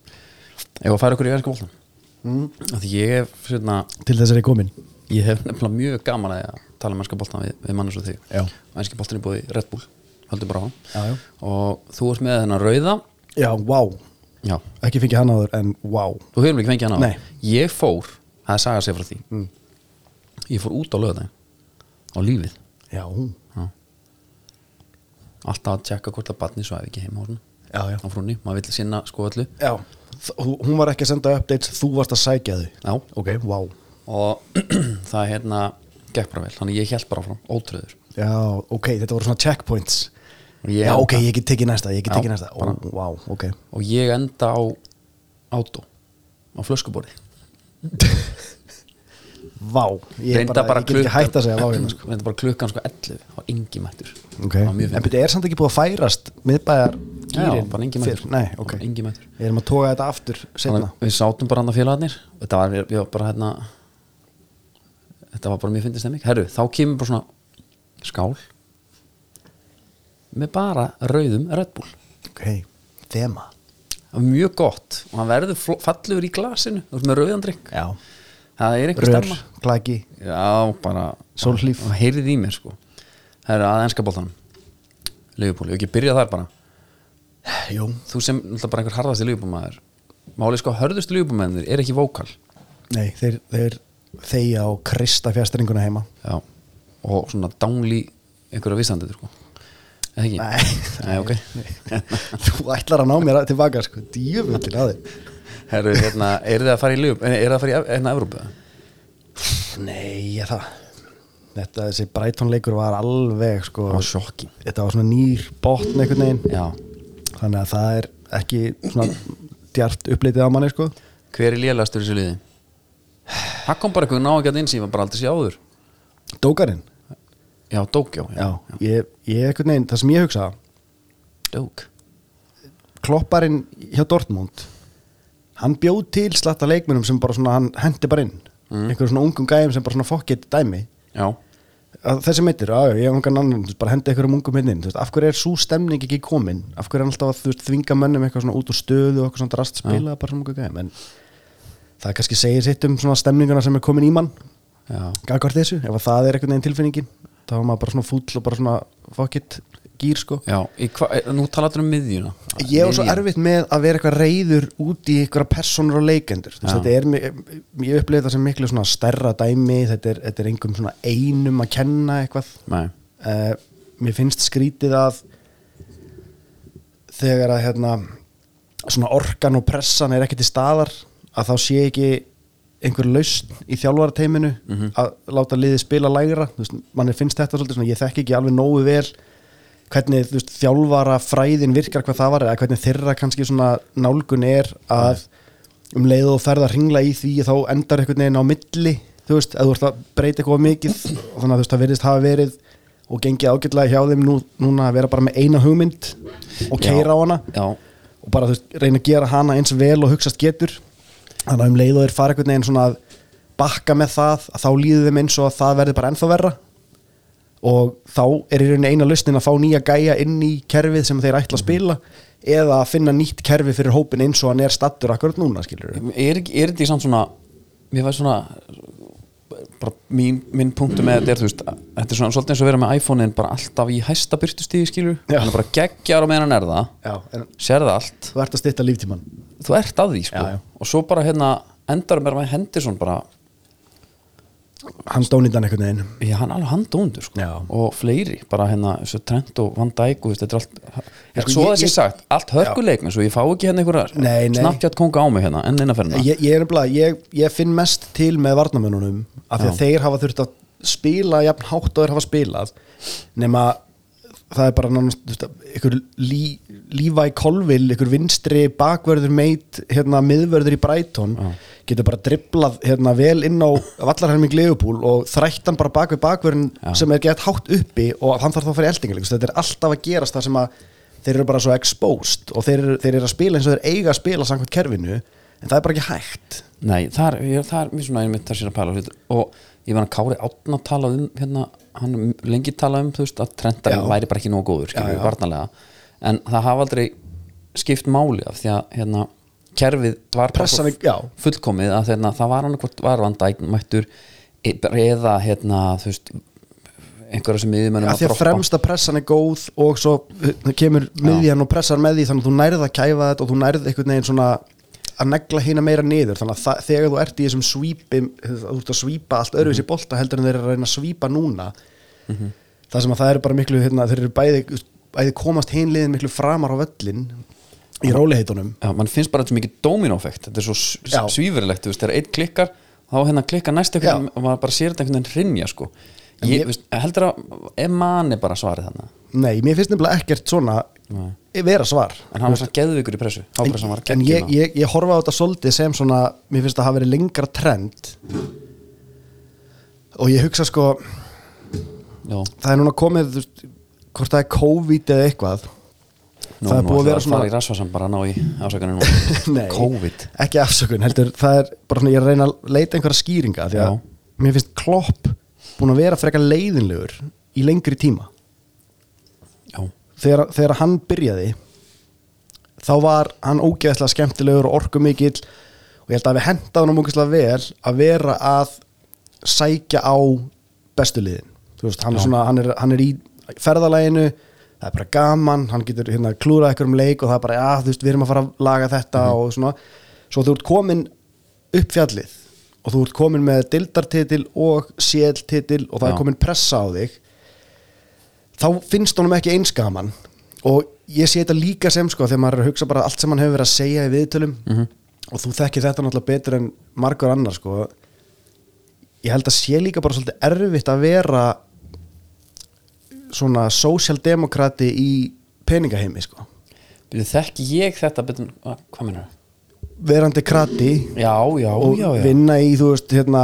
Speaker 1: Ef að færa okkur í verðsku bóltan mm. Því ég hef, svona,
Speaker 2: Til þess er ég komin
Speaker 1: ég hef nefnilega mjög gaman að, því að tala um mennska bóltan við, við mann eins og þig
Speaker 2: Já.
Speaker 1: Mennska bóltan er búið Red Bull Haldur bara á
Speaker 2: Já, já.
Speaker 1: Og þú ert með þennan rauða
Speaker 2: Já, wow
Speaker 1: Já
Speaker 2: Ekki fengið hann áður, en wow
Speaker 1: Þú hefur ekki fengið hann á
Speaker 2: Nei. Mm.
Speaker 1: Ég fór, það er saga sér frá því Ég fór út á lögadaginn Á lífið
Speaker 2: Já,
Speaker 1: alltaf að tjekka hvort að barni svæfi ekki heima á hún
Speaker 2: já, já
Speaker 1: á frúnni, maður vill sinna sko öllu
Speaker 2: Já, Þ- hú- hún var ekki að senda updates Þú varst að sækja þau
Speaker 1: Já.
Speaker 2: ok, wow
Speaker 1: og það hérna gekk bara vel, þannig ég held bara áfram, ótröður
Speaker 2: Já, ok, þetta voru svona checkpoints
Speaker 1: Og ég
Speaker 2: Já,
Speaker 1: enda-
Speaker 2: ok, ég get tekið næsta, ég get
Speaker 1: Já,
Speaker 2: tekið næsta Ó,
Speaker 1: bara-
Speaker 2: wow, ok
Speaker 1: og ég enda á átó á flöskuborði
Speaker 2: Vá, ég,
Speaker 1: Reynda
Speaker 2: bara, ég get ekki hætt að segja vá hérna sko.
Speaker 1: reynda bara klukkan sko 11 á engi mættur
Speaker 2: Ok,
Speaker 1: Það var mjög
Speaker 2: en
Speaker 1: fyndið.
Speaker 2: byrja, er samt ekki búið að færast miðbæjar
Speaker 1: Já,
Speaker 2: gýrin
Speaker 1: bara engi
Speaker 2: fyrr?
Speaker 1: mættur
Speaker 2: Nei, ok,
Speaker 1: Bara engi mættur
Speaker 2: við erum að toga þetta aftur setna
Speaker 1: Þannig að við sátum bara hann að félagarnir þetta var, við var bara hérna þetta var bara mjög fyndið stemming herru, þá kemur bara svona skál með bara rauðum Red Bull
Speaker 2: Ok, þema
Speaker 1: það var mjög gott og hann verður fl- fallegur í glasinu þú veist með rauðan drikk
Speaker 2: Já
Speaker 1: það er einhver
Speaker 2: Rör,
Speaker 1: stemma
Speaker 2: klaki
Speaker 1: já, bara
Speaker 2: Sólhlíf.
Speaker 1: og heyrið í mér sko það er að enska bóltanum Leifupúli, og ekki byrja þar bara
Speaker 2: Jú
Speaker 1: þú sem náttúrulega bara einhver harðasti leifupúmaður máli sko, hörðustu leifupúmaður er ekki vókal
Speaker 2: Nei, þeir, þeir þeia og krista fjastringuna heima
Speaker 1: já, og svona dánlí einhverja vissandi sko Eða ekki?
Speaker 2: Nei.
Speaker 1: Nei, ok
Speaker 2: Þú ætlar að ná mér að- tilbaka sko, djöfullin að þig
Speaker 1: Herru, hérna, er það að fara í Leifupúli er það að fara í Ev- hérna, Evrópu?
Speaker 2: Nei, ég það Þetta, þessi Brighton-leikur var alveg sko,
Speaker 1: Það var sjokki
Speaker 2: Þetta var svona nýr botn einhvern veginn
Speaker 1: Já,
Speaker 2: Þannig að það er ekki svona djart uppleitið á manni sko
Speaker 1: Hver er lélægastur í þessu liði? Það kom bara eitthvað ná ekki að inn sem ég var bara aldrei sé áður
Speaker 2: Dókarinn
Speaker 1: Já, Dókjó
Speaker 2: Já, ég, ég einhvern veginn, það sem ég hugsa
Speaker 1: Dók
Speaker 2: Klopparinn hjá Dortmund Hann bjóð til slatta leikmennum sem bara svona, hann hendi bara inn mm. einhverjum svona ungum gæjum sem bara svona fokkið dæmi
Speaker 1: Já,
Speaker 2: að þessi meittir, já, já, ég hef einhvern annan þú veist, bara hendi einhverjum ungum hérna inn, þú veist, af hverju er svo stemning ekki komin, af hverju er hann alltaf að þú veist, þvinga mönnum eitthvað svona út úr stöðu og eitthvað svona drast spila bara svona ungum gæjum, en það kannski segir sitt um svona stemninguna sem er komin í mann
Speaker 1: já,
Speaker 2: gagvart þessu, ef að það er einhvern veginn tilfinningin þá er maður bara svona fúll og bara svona fokkitt gýr sko
Speaker 1: já. Í hva, er, Nú talaður um miðjuna
Speaker 2: ég er svo
Speaker 1: Miðjan.
Speaker 2: erfitt með að vera eitthvað reyður út í eitthvað personur og leikendur Þess,
Speaker 1: Já.
Speaker 2: þetta er, mi- ég upplifði þetta sem miklu svona stærra dæmi, þetta er, þetta er einhverjum svona einum að kenna eitthvað
Speaker 1: Nei,
Speaker 2: uh, mér finnst skrítið að þegar að hérna, svona orkan og pressan er ekki til staðar að þá sé ekki einhver lausn í þjálfarateiminu að láta liðið spila lægra Þú veist, manni finnst þetta svolítið svona, ég þekki ekki alveg nógu vel hvernig þú veist, þjálfara virkar hvað það var eða hvernig þeirra kannski svona nálgun er að um leið og ferð að ringla í því þá endar einhvern veginn á milli þú veist, að þú ert að breyta eitthvað of mikið og þannig að þú veist, það virðist hafa verið og gengið ágætlega hjá þeim nú, núna að vera bara með eina hugmynd og keira á hana
Speaker 1: Já,
Speaker 2: og bara þú veist, reyna að gera hana eins vel og hugsast getur þannig að um leið og þeir fara einhvern veginn svona að bakka með það að þá líður þeim eins og að það verði bara ennþá verra og þá er í rauninni eina lausnin að fá nýja gæja inn í kerfið sem þeir ætla að spila eða að finna nýtt kerfi fyrir hópin eins og hann er stattur akkurat núna skilur
Speaker 1: er, ekki- er þetta ekki samt svona mér var svona bara mín, minn punktu með þetta er þú veist þetta er svona svolítið eins og að vera með iPhone-in bara alltaf í hæsta byrtustíði skilur
Speaker 2: Já.
Speaker 1: hann er bara geggjar á meðan hann er það
Speaker 2: Já, en
Speaker 1: sér það allt,
Speaker 2: þú ert að stytta líftíman
Speaker 1: þú ert að því sko.
Speaker 2: Já, já.
Speaker 1: og svo bara hérna endar með að hendir svona bara
Speaker 2: hann stónið hann einhvern veginn
Speaker 1: Já, hann er alveg handóndur sko.
Speaker 2: Já.
Speaker 1: og fleiri, bara hérna svo Trent og Van Dijk og þú veist, þetta er allt en
Speaker 2: Sko,
Speaker 1: svo
Speaker 2: ég-
Speaker 1: það sé
Speaker 2: ég-
Speaker 1: sagt, allt hörkuleikmenn svo ég fá ekki hérna
Speaker 2: Nei,
Speaker 1: einhverjar
Speaker 2: nei.
Speaker 1: snabbtjátt konga á mig hérna, enn innanferðina
Speaker 2: ég, ég, er nefnilega- ég, ég finn mest til með varnamönunum af því að
Speaker 1: Já.
Speaker 2: þeir hafa þurft að spila jafn hátt og þeir hafa spilað nema það er bara nánast, þú veist, að ykkur lí, Levi Colville, ykkur vinstri bakvörður meit, hérna miðvörður í Brighton, getur bara dribblað hérna vel inn á vallarhelming Leopold og þrættan bara bak við bakvörðin sem er gett hátt uppi og hann þarf þá að fara í eldingaleg, þetta er alltaf að gerast það sem að þeir eru bara svo exposed og þeir, eru- þeir eru að spila eins og þeir eiga að spila samkvæmt kerfinu, en það er bara ekki hægt
Speaker 1: Nei, það er, ég, það er mér svona einmitt þar sér að pæla hlut. og ég meina Kári Átna talað um hérna, hann lengi talað um þú veist, að Trentar
Speaker 2: Já.
Speaker 1: væri bara ekki nógu góður skilur,
Speaker 2: Já, já.
Speaker 1: varnarlega, en það hafa aldrei skipt máli af því að hérna, kerfið var bara
Speaker 2: Pressan
Speaker 1: svo
Speaker 2: er- já.
Speaker 1: fullkomið að hérna, það var hann hvort var vandægn mættur e- eða hérna, þú veist einhverja sem miðjumennum
Speaker 2: að því að fremsta pressan er góð og svo uh, kemur miðjan og pressar með því þannig að þú nærið að kæfa þetta og þú nærið einhvern veginn svona að negla hina meira niður þannig að það, þegar þú ert í þessum svípi þú ert að svípa allt öruvísi bolta heldur en þeir eru að reyna að svípa núna það sem að það eru bara miklu hérna, þeir eru bæði, bæði komast hinliðin miklu framar á völlin í róliheitunum
Speaker 1: Já, mann finnst bara þetta svo mikið dominófekt þetta er svo s-
Speaker 2: Já.
Speaker 1: svífurlegt, þú veist, þegar einn klikkar þá hérna klikkar næst
Speaker 2: Já.
Speaker 1: eitthvað og maður bara sér þetta einhvern veginn hrinja, sko
Speaker 2: En
Speaker 1: ég,
Speaker 2: ég-
Speaker 1: veist, heldur að, er manni bara svarið þannig
Speaker 2: nei, mér finnst nefnilega ekkert svona vera svar
Speaker 1: en hann var svona geðvikur í pressu hápressan var
Speaker 2: en ég,
Speaker 1: geggjum
Speaker 2: ég, ég horfa á þetta svolítið sem svona mér finnst að hafa verið lengra trend og ég hugsa sko það er núna komið þú veist, hvort það er COVID eða eitthvað það er búið að vera
Speaker 1: Það er í
Speaker 2: svona
Speaker 1: rasvarsan bara að ná í ásakanu nú
Speaker 2: Nei,
Speaker 1: COVID
Speaker 2: ekki afsökun heldur, það er bara svona ég er að reyna að leita einhverja skýringa því að
Speaker 1: Já.
Speaker 2: mér finnst klopp búin að vera frekar leiðinlegur í lengri tíma
Speaker 1: Já,
Speaker 2: þegar, þegar hann byrjaði þá var hann ógeðslega skemmtilegur og orku mikill og ég held að við hendaði hann ógeðslega vel að vera að sækja á bestu liðin Þú veist, hann, er
Speaker 1: Já.
Speaker 2: svona, hann, er, hann er í ferðalæginu það er bara gaman, hann getur hérna, klúrað ykkur um leik og það er bara, já, þú veist, við erum að fara að laga þetta
Speaker 1: Mhm.
Speaker 2: og svona, svo þú ert komin upp fjallið og þú ert komin með dildartitil og séltitil og það
Speaker 1: Já.
Speaker 2: er komin pressa á þig þá finnst honum ekki eins gaman og ég sé þetta líka sem sko þegar maður er að hugsa bara allt sem hann hefur verið að segja í viðtölum
Speaker 1: Mhm.
Speaker 2: og þú þekkir þetta náttúrulega betur en margur annar sko ég held að sé líka bara svolítið erfitt að vera svona sósjaldemokrati í peningaheimi sko
Speaker 1: byrju þekki ég þetta betur, að, hvað minnur
Speaker 2: verandi krati
Speaker 1: Já, já,
Speaker 2: og
Speaker 1: já, já
Speaker 2: vinna í þú veist hérna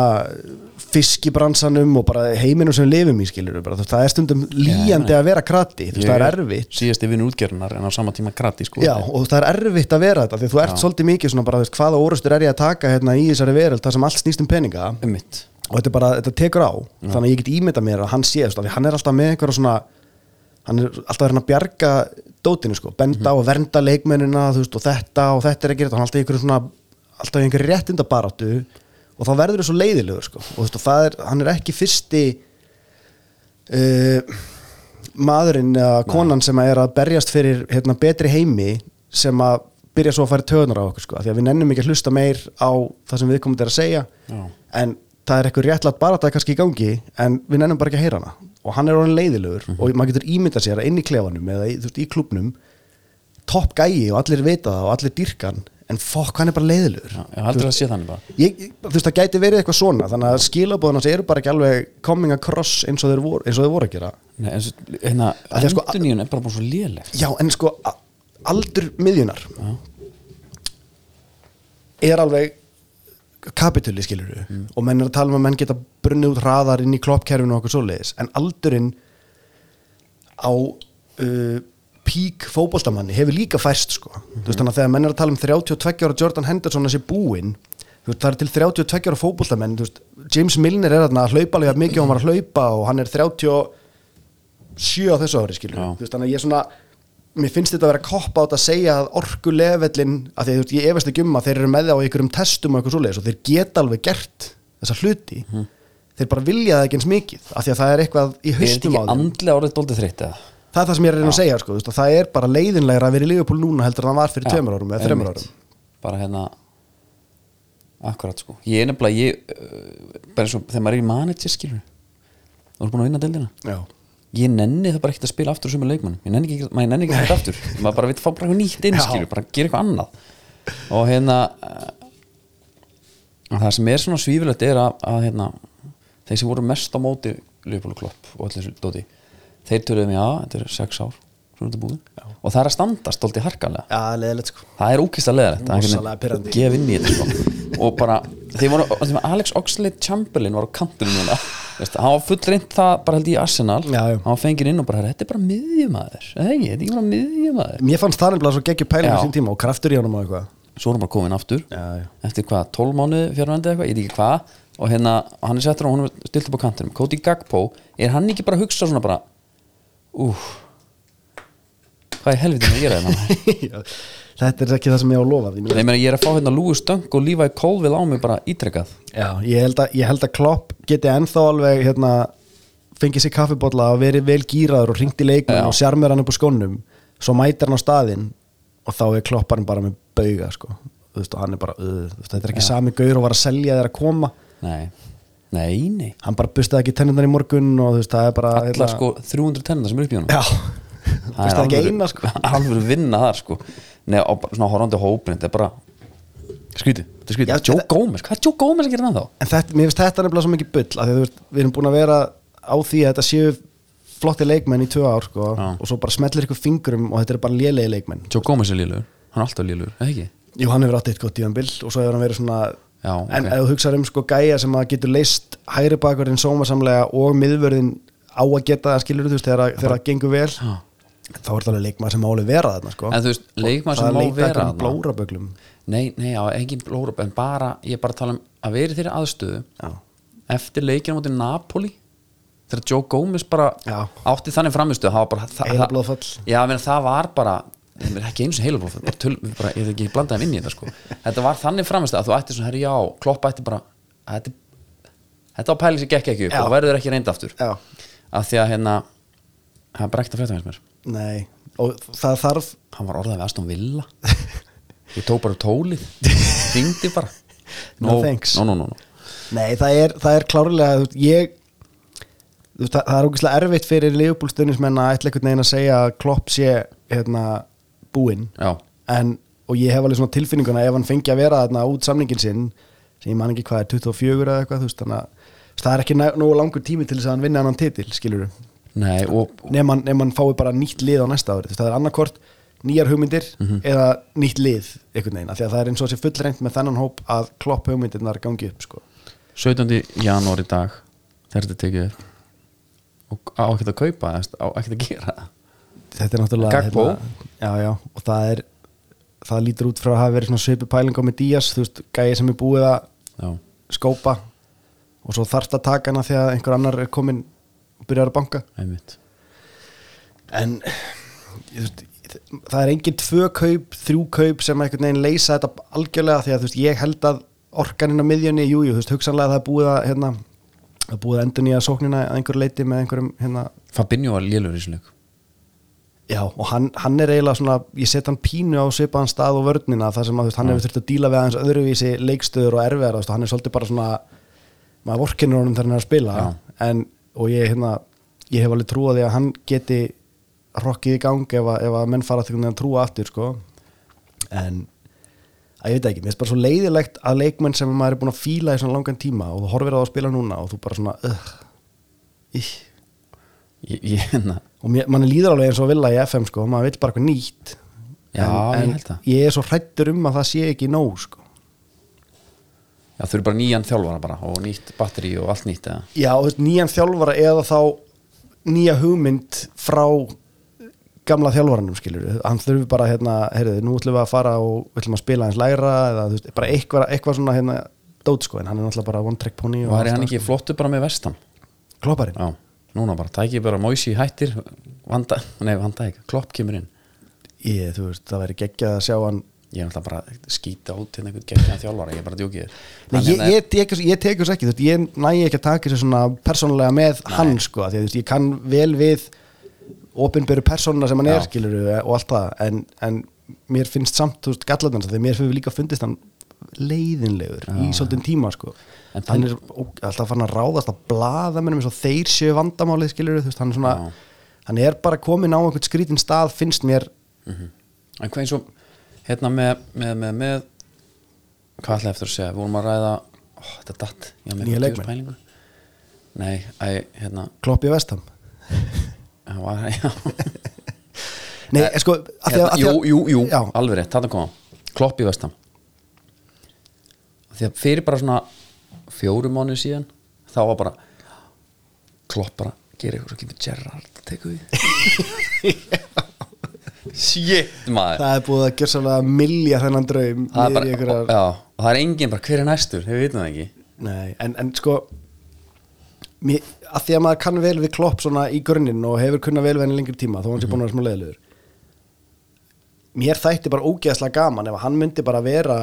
Speaker 2: fiskibransanum og bara heiminum sem við lifum í skilur bara, þú veist, það er stundum líjandi að vera krati þú veist, það er erfitt
Speaker 1: Síðast yfir útgerðunar en á sama tíma grati, sko
Speaker 2: Já, og það er erfitt að vera þetta því þú ert svolítið mikið svona bara, þú veist, hvaða orustur er ég að taka hérna í þessari veröld, það sem allt snýst um peninga
Speaker 1: Um mitt
Speaker 2: og þetta er bara, þetta tekur á þannig að ég get ímynda mér að hann sé, þú veist, af því hann er alltaf með einhverja svona hann er alltaf að reyna að bjarga dótinu, sko, benda og vernda leikmennina, þú veist, og þetta og þetta er ekki rétt, hann er alltaf í einhverju svona alltaf í einhverju réttindabaráttu og þá verður þú svo leiðilegur, sko, og þú veist, og það er, hann er ekki fyrsti uh, maðurinn eða konan sem að er að berjast fyrir hérna, betri heimi sem að byrja svo að færa töðunar á okkur sko. af því að við nennum ekki að hlusta meir á það sem viðkomandi er að segja
Speaker 1: Já.
Speaker 2: en það er eitthvað réttlætt bara að það er kannski í gangi en við nennum bara ekki að heyra hana og hann er orðin leiðilegur
Speaker 1: Mhm.
Speaker 2: og maður getur ímyndað sér að inn í klefanum eða í, þú veist, í klubnum topp gæi og allir vita það og allir dýrkan en fokk hann er bara leiðilegur
Speaker 1: Já, ég heldur að það sé þannig bara
Speaker 2: ég, ég- þú veist það gæti verið eitthvað svona þannig að skilabóðunars eru bara ekki alveg coming across eins og þeir voru, eins og þeir voru að gera
Speaker 1: Nei, en svo, hérna,
Speaker 2: Af því að sko-
Speaker 1: enduníun er bara bara svo lélegt
Speaker 2: Já, en sko a- aldur miðjunar er alveg kapituli skilur við og menn er að tala um að menn geta brunnið út hraðar inn í kloppkerfinu og okkur svoleiðis en aldurinn á uh, pík fótboltamanni hefur líka færst sko. þú veist þannig að þegar menn er að tala um 32 ára Jordan Henderson að sé búinn þú veist það er til 32 ára fótboltamenn þú veist, James Milner er þarna að hlaupa alveg jafn mikið og hann var að hlaupa og hann er 37 á þessu ári skilur
Speaker 1: Já.
Speaker 2: þú veist þannig að ég er svona mér finnst þetta að vera koppa átt að segja að orku lefellin, að því þú veist ég efast ekki um að þeir eru með það á einhverjum testum og eitthvað svoleiðis og þeir geta alveg gert þessa hluti þeir bara vilja það ekki eins mikið af því að það er eitthvað í
Speaker 1: Mhm. Er þetta
Speaker 2: haustum á
Speaker 1: ekki
Speaker 2: þeim
Speaker 1: andlega orðið dóldið þreytt eða?
Speaker 2: það er það sem ég er að reyna að segja sko, þú veist, að það er bara leiðinlegra að vera í Liverpool núna heldur en það var fyrir
Speaker 1: Já,
Speaker 2: tveimur árum eða þreimur
Speaker 1: einmitt.
Speaker 2: árum
Speaker 1: bara hérna akkurat sko, ég er nefnilega ég, uh, bara eins og þegar maður er í manager skilur þú er búin að vinna deildina
Speaker 2: já.
Speaker 1: ég nenni það bara ekkert að spila aftur sem er leikmann ég nenni ekki, maður nenni ekki þetta aftur maður bara veit fá bara eitthvað nýtt inn
Speaker 2: Já.
Speaker 1: skilur bara gera eitthvað annað og hérna uh, það sem er svona svífilegt er að, að hérna, þeir sem voru mest á móti Leopold Klopp og allir þessu dóti þeir töluðum já, þetta er sex ár svo er þetta búið og það er að standast stolti harkalega
Speaker 2: já, leiðilegt sko
Speaker 1: það er ókist að leða þetta
Speaker 2: Rosalega pirrandi.
Speaker 1: gef inn í þetta sko. og bara, þeir voru, þeir voru Alex Oxlade-Chamberlain var á kantinu núna Veist, hann var full reynd það bara held ég í Arsenal
Speaker 2: Já, já.
Speaker 1: hann var fengið inn og bara, þetta er bara miðjumæður þetta er ekki bara miðjumæður
Speaker 2: mér fannst það nefnilega svo geggjur pæling á
Speaker 1: Já.
Speaker 2: sín tíma og kraftur í honum og eitthvað
Speaker 1: svo er hann bara komin aftur
Speaker 2: Já, já.
Speaker 1: eftir hvað, 12 mánuði fjárvændi eitthvað, ég veit ekki hvað og hérna, og hann er settur og hann er stilt upp á kantinum Cody Gagpo, er hann ekki bara að hugsa svona bara úh hvað er helvitinu að gera þetta
Speaker 2: þetta er ekki það sem ég á að lofa því
Speaker 1: Nei, ég meina, ég er að fá hérna Lúi Stöng og Levi Colville á mig bara ítrekkað
Speaker 2: já, ég, held að, ég held að Klopp geti ennþá alveg hérna, fengið sér kaffibotla og verið vel gýraður og ringt í leikmenn
Speaker 1: Já.
Speaker 2: og sjarmur hann upp á skónum svo mætir hann á staðinn og þá er klopparinn bara með bauga sko. Þú veist, og hann er bara, uh, þú veist, þetta er ekki sami gaur og var að selja þeir að koma
Speaker 1: Nei, nei, nei
Speaker 2: hann bara bustaði ekki tennirnar í morgun og þú veist, það er bara hérna-
Speaker 1: Alla sko 300 tennina sem eru upp í honum
Speaker 2: já, bustaði ekki eina sko
Speaker 1: alveg vinna þar sko Nei, og bara svona horfandi á hópin, þetta er bara Skrítið, þetta er
Speaker 2: Já,
Speaker 1: skrítið Jó
Speaker 2: þetta-
Speaker 1: Gómez, hvað er Jó Gómez að gera það þá?
Speaker 2: en þetta, mér finnst þetta nefnilega svo mikið bull af því að þú veist, við erum búin að vera á því að þetta séu flotti leikmenn í tvö ár sko,
Speaker 1: Já.
Speaker 2: og svo bara smellir ykkur fingrum og þetta er bara lélegi leikmenn
Speaker 1: Jó Gómez er lélugur, hann er alltaf lélugur, eða ekki?
Speaker 2: Jú, hann hefur átt eitt gott díðanbill og svo hefur hann verið svona
Speaker 1: Já,
Speaker 2: en
Speaker 1: ok.
Speaker 2: ef þú hugsaður um sko gæja sem að getur leist hægri bakurinn sómasamlega og miðvörðin á að geta það skilur þú veist þegar, að- þegar það gengur vel
Speaker 1: Já.
Speaker 2: þá er það alveg leikmaður sem máli vera þarna sko
Speaker 1: En þú veist, leikmaður sem má vera
Speaker 2: um
Speaker 1: þarna.
Speaker 2: blóraböglum
Speaker 1: Nei, nei, á engin blóra En bara, ég er bara að tala um að vera í þeirri aðstöðu
Speaker 2: Já.
Speaker 1: Eftir leikina mútið Napoli Þegar Jó Gómez bara
Speaker 2: Já.
Speaker 1: átti þannig framistu
Speaker 2: Heilablóðfall.
Speaker 1: Já, menn, það var bara ég meina, ekki eins og heilablóð bara töl, við bara, ég er ekki blandaði inn í þetta sko þetta var þannig framist að þú ætti svona, herri já kloppa ætti bara, þetta, þetta á pæling sem gekk ekki upp
Speaker 2: Já.
Speaker 1: og verður ekki reynd aftur
Speaker 2: Já.
Speaker 1: af því að hérna hann er bara ekkert að frétta hans mér
Speaker 2: Nei, og það þarf
Speaker 1: hann var orðað við Aston Villa ég tók bara upp tólið þingdi bara
Speaker 2: No thanks.
Speaker 1: no, no, no, no.
Speaker 2: Nei, það er, það er klárlega þú veist, ég þú veist, það, það er ógeðslega erfitt fyrir Leopoldstunismenn að ætla einhvern veginn að segja að Klopp sé hérna, búinn
Speaker 1: Já.
Speaker 2: en, og ég hef alveg svona tilfinninguna ef hann fengi að vera þarna út samningin sinn sem ég man ekki hvað er 24 eða eitthvað þú veist, þannig að þú veist, það er ekki næ- nógu langur tími til þess að hann vinna annan titil, skilur við
Speaker 1: Nei, og,
Speaker 2: nema hann- nema hann fái bara nýtt lið á næsta ári þú veist, það er annarkort nýjar hugmyndir eða nýtt lið einhvern veginn af því að það er eins og sé fullrengt með þennan hóp að klopp hugmyndirnar gangi upp sko.
Speaker 1: 17. janúar í dag þegar þetta er tekið upp. og á ekkert að kaupa þú veist, á ekkert að gera það.
Speaker 2: þetta er náttúrulega
Speaker 1: Gagbo.
Speaker 2: hérna, já, já, og það er það lítur út frá að hafa verið svona svipu pælinga með Díaz, þú veist, gæði sem er búið að
Speaker 1: Já.
Speaker 2: skópa og svo þarft að taka hana þegar einhver annar er komin og byrjar að banka
Speaker 1: einmitt
Speaker 2: en þú veist, það er engin tvö kaup, þrjú kaup sem einhvern veginn leysa þetta algjörlega því að þú veist, ég held að orkaninn á miðjunni, jújú, jú, þú veist, hugsanlega það er búið að hérna, það er búið að endur nýja sóknina að einhverju leiti með einhverjum hérna,
Speaker 1: Fabinho var lélur í þessum leik
Speaker 2: Já, og hann, hann er eiginlega svona, ég set hann pínu á svipaðan stað og vörnina þar sem að þú veist, hann hefur þurft að díla við aðeins öðruvísi leikstöður og erfiðar, þú veist, hann er svolítið bara svona, maður vorkinur honum þegar hann er að spila, en, og ég, hérna, ég hef alveg trúið því að hann geti rokkið í gang ef að, ef að menn fara til að trúa aftur, sko, en að ég veit ekki, mér finnst bara svo leiðilegt að leikmenn sem maður er búin að fíla í svona langan tíma og þú horfir á það að spila núna og þú bara svona, uh, ih,
Speaker 1: ég, ég, hérna,
Speaker 2: og mér, mann líður alveg eins og vilja í FM sko, maður vill bara eitthvað nýtt
Speaker 1: Já,
Speaker 2: en,
Speaker 1: ég
Speaker 2: en
Speaker 1: held það.
Speaker 2: ég er svo hrættur um að það sé ekki nóg sko.
Speaker 1: Já, þau eru bara nýjan þjálfara bara og nýtt batteri og allt nýtt eða
Speaker 2: Já, þú veist, nýjan þjálfara eða þá nýja hugmynd frá gamla þjálfaranum skilur hann þurfi bara hérna, heyrðu, nú ætlum við að fara og við ætlum að spila hans lægra eða þú veist, bara eitthvað, eitthvað svona hérna dót sko, en hann er náttúrulega bara one trick pony og
Speaker 1: Var
Speaker 2: allt
Speaker 1: hann
Speaker 2: það,
Speaker 1: ekki flottu bara með vestan?
Speaker 2: sko. klopparinn,
Speaker 1: Já, núna bara, tækið bara Moisi hættir, vanda, nei, vanda ekki Klopp kemur inn
Speaker 2: ég, þú veist, það væri geggjað að sjá hann
Speaker 1: Ég er alltaf bara að skýta út hérna einhvern gegn þjálfara, ég er bara að djókið
Speaker 2: Nei, ég, ég, tek, ég tek þess ekki, þú veist, ég næ ekki að taka þessu svona persónulega með hann sko, af því að þú veist, ég kann vel við opinberu persónuna sem hann er
Speaker 1: Já.
Speaker 2: skilur og allt það, en, en mér finnst samt, þú veist, gallarnans þegar mér fyrir líka fundist hann leiðinlegur í svolítinn tíma sko
Speaker 1: En
Speaker 2: hann er ó- alltaf fann að ráðast að blaða mennum eins og þeir séu vandamálið skilur þú veist, hann er svona,
Speaker 1: Já.
Speaker 2: hann er bara komin á einhvern skrítinn stað, finnst mér
Speaker 1: En hvað eins og hérna með, með, með, með hvað ætlaði eftir að segja, við vorum að ræða ó, þetta datt, ég var með
Speaker 2: Nýja
Speaker 1: eitthvað
Speaker 2: leikmenn.
Speaker 1: djúspælingu. Nei, æ, hérna
Speaker 2: kloppi vestam
Speaker 1: það var, já,
Speaker 2: Nei, sko, af því að-
Speaker 1: hérna,
Speaker 2: af því
Speaker 1: Jú,
Speaker 2: að-
Speaker 1: jú, jú,
Speaker 2: Já.
Speaker 1: alveg rétt, þarna kom hann. Klopp í vestam Því að fyrir bara svona fjórum mánuð síðan þá var bara Klopp bara, gera eitthvað svo kemur Gerrard að teka við Shit, maður
Speaker 2: Það er búið að gera svolítið milja þennan draum
Speaker 1: Það er bara,
Speaker 2: niður í einhverjar-
Speaker 1: já, og það er enginn bara, hver er næstur, við vitum það ekki
Speaker 2: Nei, en, en sko mér, að því að maður kann vel við klopp svona í grunninn og hefur kunna vel við henni lengri tíma þó hann sé búin að vera smá leiðilegur mér þætti bara ógeðslega gaman ef hann myndi bara vera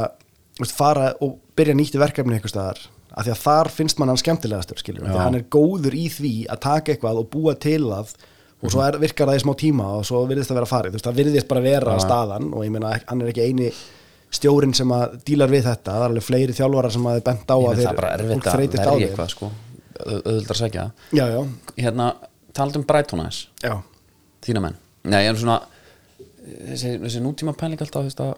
Speaker 2: þú veist, fara og byrja nýtt í verkefni einhvers staðar af því að þar finnst man hann skemmtilegastur skilur, því að
Speaker 1: Já.
Speaker 2: hann er góður í því að taka eitthvað og búa til það og svo er, virkar það í smá tíma og svo virðist það vera farið, þú veist, það virðist bara vera staðan og ég meina, ek- hann er ekki eini stjórin sem að dílar við þetta það er alveg fleiri þjálfarar sem að þið bent á
Speaker 1: Ég meina,
Speaker 2: að þeir
Speaker 1: það er bara
Speaker 2: fólk
Speaker 1: erfitt að
Speaker 2: þreytist á
Speaker 1: verja
Speaker 2: þeim.
Speaker 1: eitthvað sko Au- auðvitað að segja það.
Speaker 2: Já, já,
Speaker 1: hérna, talað um Brighton aðeins
Speaker 2: já,
Speaker 1: þína menn, nei en svona þessi, þessi nútíma pæling alltaf þú veist að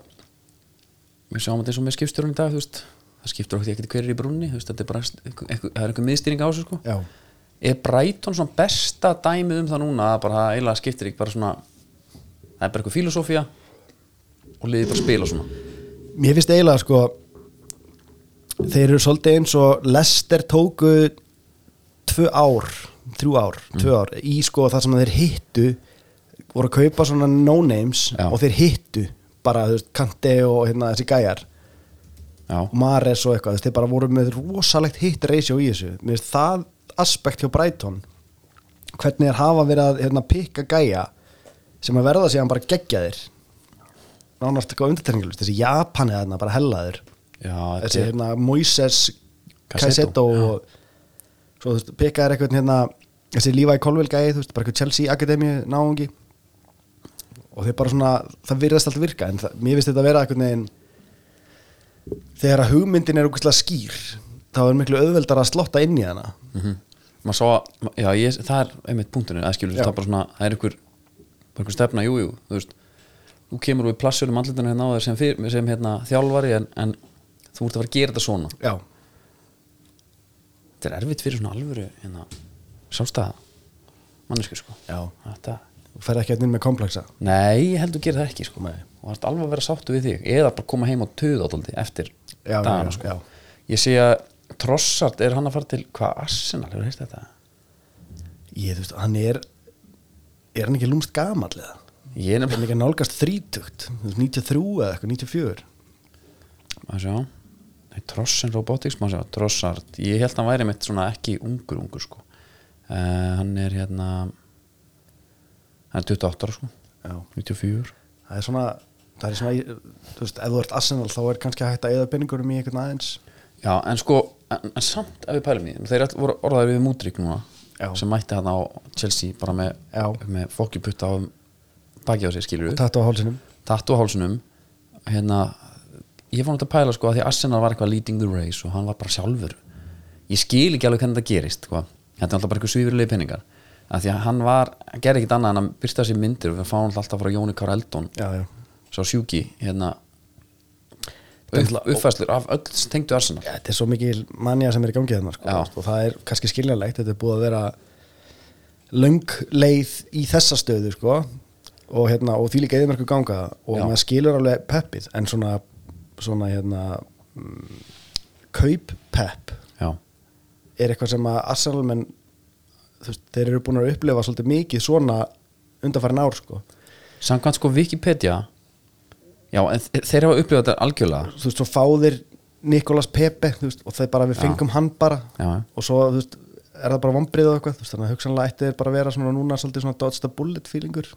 Speaker 1: við sjáum þetta eins og með skipstjórun í dag þú veist, það skiptur okkur ekkert hverjir í brúnni þú veist, þetta er bara, einhver- einhver- það er einhver miðstýring á þessu sko
Speaker 2: já
Speaker 1: er Brighton svona besta dæmið um það núna að bara það eiginlega skiptir ekki bara svona það er bara eitthvað filosófía og liðið bara spila svona
Speaker 2: Mér finnst eiginlega sko þeir eru svolítið eins og Lester tóku tvö ár, þrjú ár,
Speaker 1: Mm.
Speaker 2: tvö ár í sko það sem þeir hittu voru að kaupa svona no-names
Speaker 1: Já.
Speaker 2: og þeir hittu bara, þú veist, Kante og hérna þessi gæjar
Speaker 1: já,
Speaker 2: Mares og eitthvað, þú veist, þeir bara voru með rosalegt hitt reysjó í þessu Mér finnst það aspekt hjá Brighton hvernig þeir hafa verið að hérna, pikka gæja sem að verða síðan bara geggja þér nánast eitthvað undirtæringalust þessi Japan eða þarna bara hellaður
Speaker 1: já
Speaker 2: þessi
Speaker 1: þetta er,
Speaker 2: hérna Moises Caicedo
Speaker 1: Caicedo,
Speaker 2: og svo þú veist, pikka þér eitthvað hérna þessi Levi Colville gæi, þú veist, bara eitthvað Chelsea Akademíu náungi og þeir bara svona, það virðast allt virka en það, mér finnst þetta að vera eitthvað neginn þegar að hugmyndin er okkur skýr þá er miklu auðveldar að slotta inn í hana
Speaker 1: maður sá að, já, ég, það er einmitt punktunum, það skilur,
Speaker 2: Já.
Speaker 1: það er bara svona það er einhver, bara einhver stefna, jú, jú þú veist, þú kemur við plassur um andlutinu hérna á þér sem, fyr, sem hérna, þjálfari en, en þú ert að fara að gera þetta svona
Speaker 2: já,
Speaker 1: þetta er erfitt fyrir svona alvöru hérna, sjálfstæða mannesku, sko
Speaker 2: Já.
Speaker 1: þetta,
Speaker 2: þú ferð ekki að inn með komplexa
Speaker 1: nei, ég held þú gerir það ekki, sko
Speaker 2: Nei.
Speaker 1: og það er alveg að vera sáttu við þig eða bara koma heim á töð átóldi eftir
Speaker 2: Já, já,
Speaker 1: dagana,
Speaker 2: já,
Speaker 1: sko
Speaker 2: já.
Speaker 1: ég sé að Trossart, er hann að fara til hvað Arsenal, hefur heist þetta?
Speaker 2: ég, þú veist, hann er er hann ekki lúmst gamall eða
Speaker 1: Ég er
Speaker 2: er hann
Speaker 1: nefnilega
Speaker 2: ekki að nálgast þrítugt þú veist, 93 eða eitthvað, 94
Speaker 1: að sjá Nei, Trossin Robotics, maður sjá, Trossart ég held hann væri mitt svona ekki ungur ungur sko uh, hann er hérna hann er 28 ára sko
Speaker 2: já
Speaker 1: 94
Speaker 2: það er svona það er svona, í- þú veist, ef þú ert Arsenal þá er kannski hægt að eða peningurum í einhvern aðeins
Speaker 1: já en sko, en, en samt ef við pælum í því, þeir all- voru orðaður við mútrík núna
Speaker 2: Já.
Speaker 1: sem mætti hann á Chelsea bara með,
Speaker 2: Já.
Speaker 1: með fokkjuputta á baki á sér skilur við,
Speaker 2: Tattu á hálsinum
Speaker 1: tattu á hálsunum hérna, ég fann þetta að pæla sko að því Arsenal var eitthvað leading the race og hann var bara sjálfur ég skil ekki alveg hvernig þetta gerist sko. þetta er alltaf bara eitthvað svífurlega peningar að því að hann var, hann gerði ekkit annað en að byrsta sér myndir og við fáum alltaf frá Jóni Kár Eldon
Speaker 2: Já, já
Speaker 1: sá sjúki hérna upp, uppfæslur af öll tengdu Arsenal
Speaker 2: Þetta er svo mikil manja sem er í gangi þarna sko,
Speaker 1: Já.
Speaker 2: veist, og það er kannski skiljanlegt þetta er búið að vera löng leið í þessa stöðu sko, og, hérna, og því líka eðimörku ganga og
Speaker 1: Já.
Speaker 2: maður skilur alveg peppið en svona, svona hérna, mm, kaup Pep
Speaker 1: já,
Speaker 2: er eitthvað sem að Arsenal menn veist, þeir eru búin að upplifa svolítið mikið svona undanfærin ár sko.
Speaker 1: samkvæmt sko Wikipedia já, en þe- þeir hafa upplifað þetta algjörlega
Speaker 2: þú veist, svo fá þeir Nikolas Pepe þú veist, og þeir bara við fengum hann bara
Speaker 1: Já.
Speaker 2: og svo þú veist, er það bara vombrið og eitthvað þú veist, þannig að hugsanlega ætti þeir bara að vera svona núna svolítið svona dodge the bullet feelingur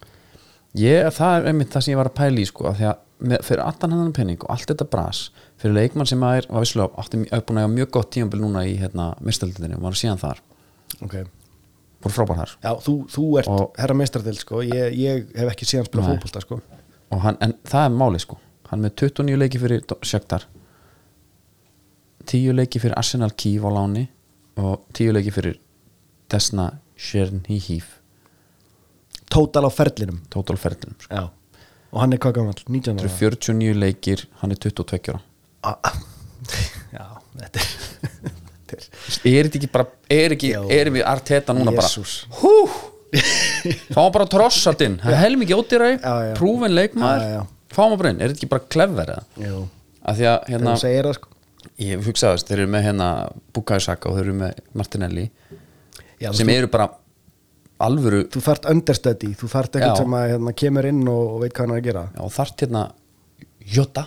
Speaker 1: ég, það er einmitt það sem ég var að pæla í sko, af því að með, fyrir allan hennan penning og allt þetta bras fyrir leikmann sem að er, var visslega átti mjög- búin að hafa mjög gott tíambil núna í hérna, mistöldinni og var síðan þar,
Speaker 2: okay.
Speaker 1: voru frábær þar
Speaker 2: Já, þú, þú ert
Speaker 1: Og-
Speaker 2: herra meistardil sko. ég, ég hef ekki síðan spilað
Speaker 1: Nei.
Speaker 2: fótbolta sko.
Speaker 1: og hann, en það er málið sko hann er með 29 leiki fyrir Do- Shakhtar 10 leiki fyrir Arsenal Kiev á láni og 10 leiki fyrir Desna Chernihiv
Speaker 2: Total á ferlinum
Speaker 1: totalferðinum sko.
Speaker 2: Já. og hann er hvað gammal, 19
Speaker 1: Þetta
Speaker 2: ára
Speaker 1: eru 49 leikir, hann er 22 ára
Speaker 2: Ah. Já, þetta er þetta er-
Speaker 1: er þetta ekki bara er ekki,
Speaker 2: Jó.
Speaker 1: erum við Arteta núna
Speaker 2: Jesús.
Speaker 1: bara hú fáum bara trossatinn, það er helmingi ódýræg
Speaker 2: Já, já.
Speaker 1: prúfin
Speaker 2: Já, já.
Speaker 1: leikmaður, fáum bara inn er þetta ekki bara klefver eða
Speaker 2: Jú.
Speaker 1: að því að
Speaker 2: Þegar
Speaker 1: hérna
Speaker 2: þú segir það sko
Speaker 1: ég hugsaði þess, þeir eru með hérna Bukaisaka og þeir eru með Martinelli
Speaker 2: Já,
Speaker 1: sem
Speaker 2: þú-
Speaker 1: eru bara alvöru
Speaker 2: Þú þarft understudy, þú þarft
Speaker 1: Já.
Speaker 2: eitthvað sem að hérna, kemur inn og, og veit hvað hann er að gera
Speaker 1: og þart hérna Jota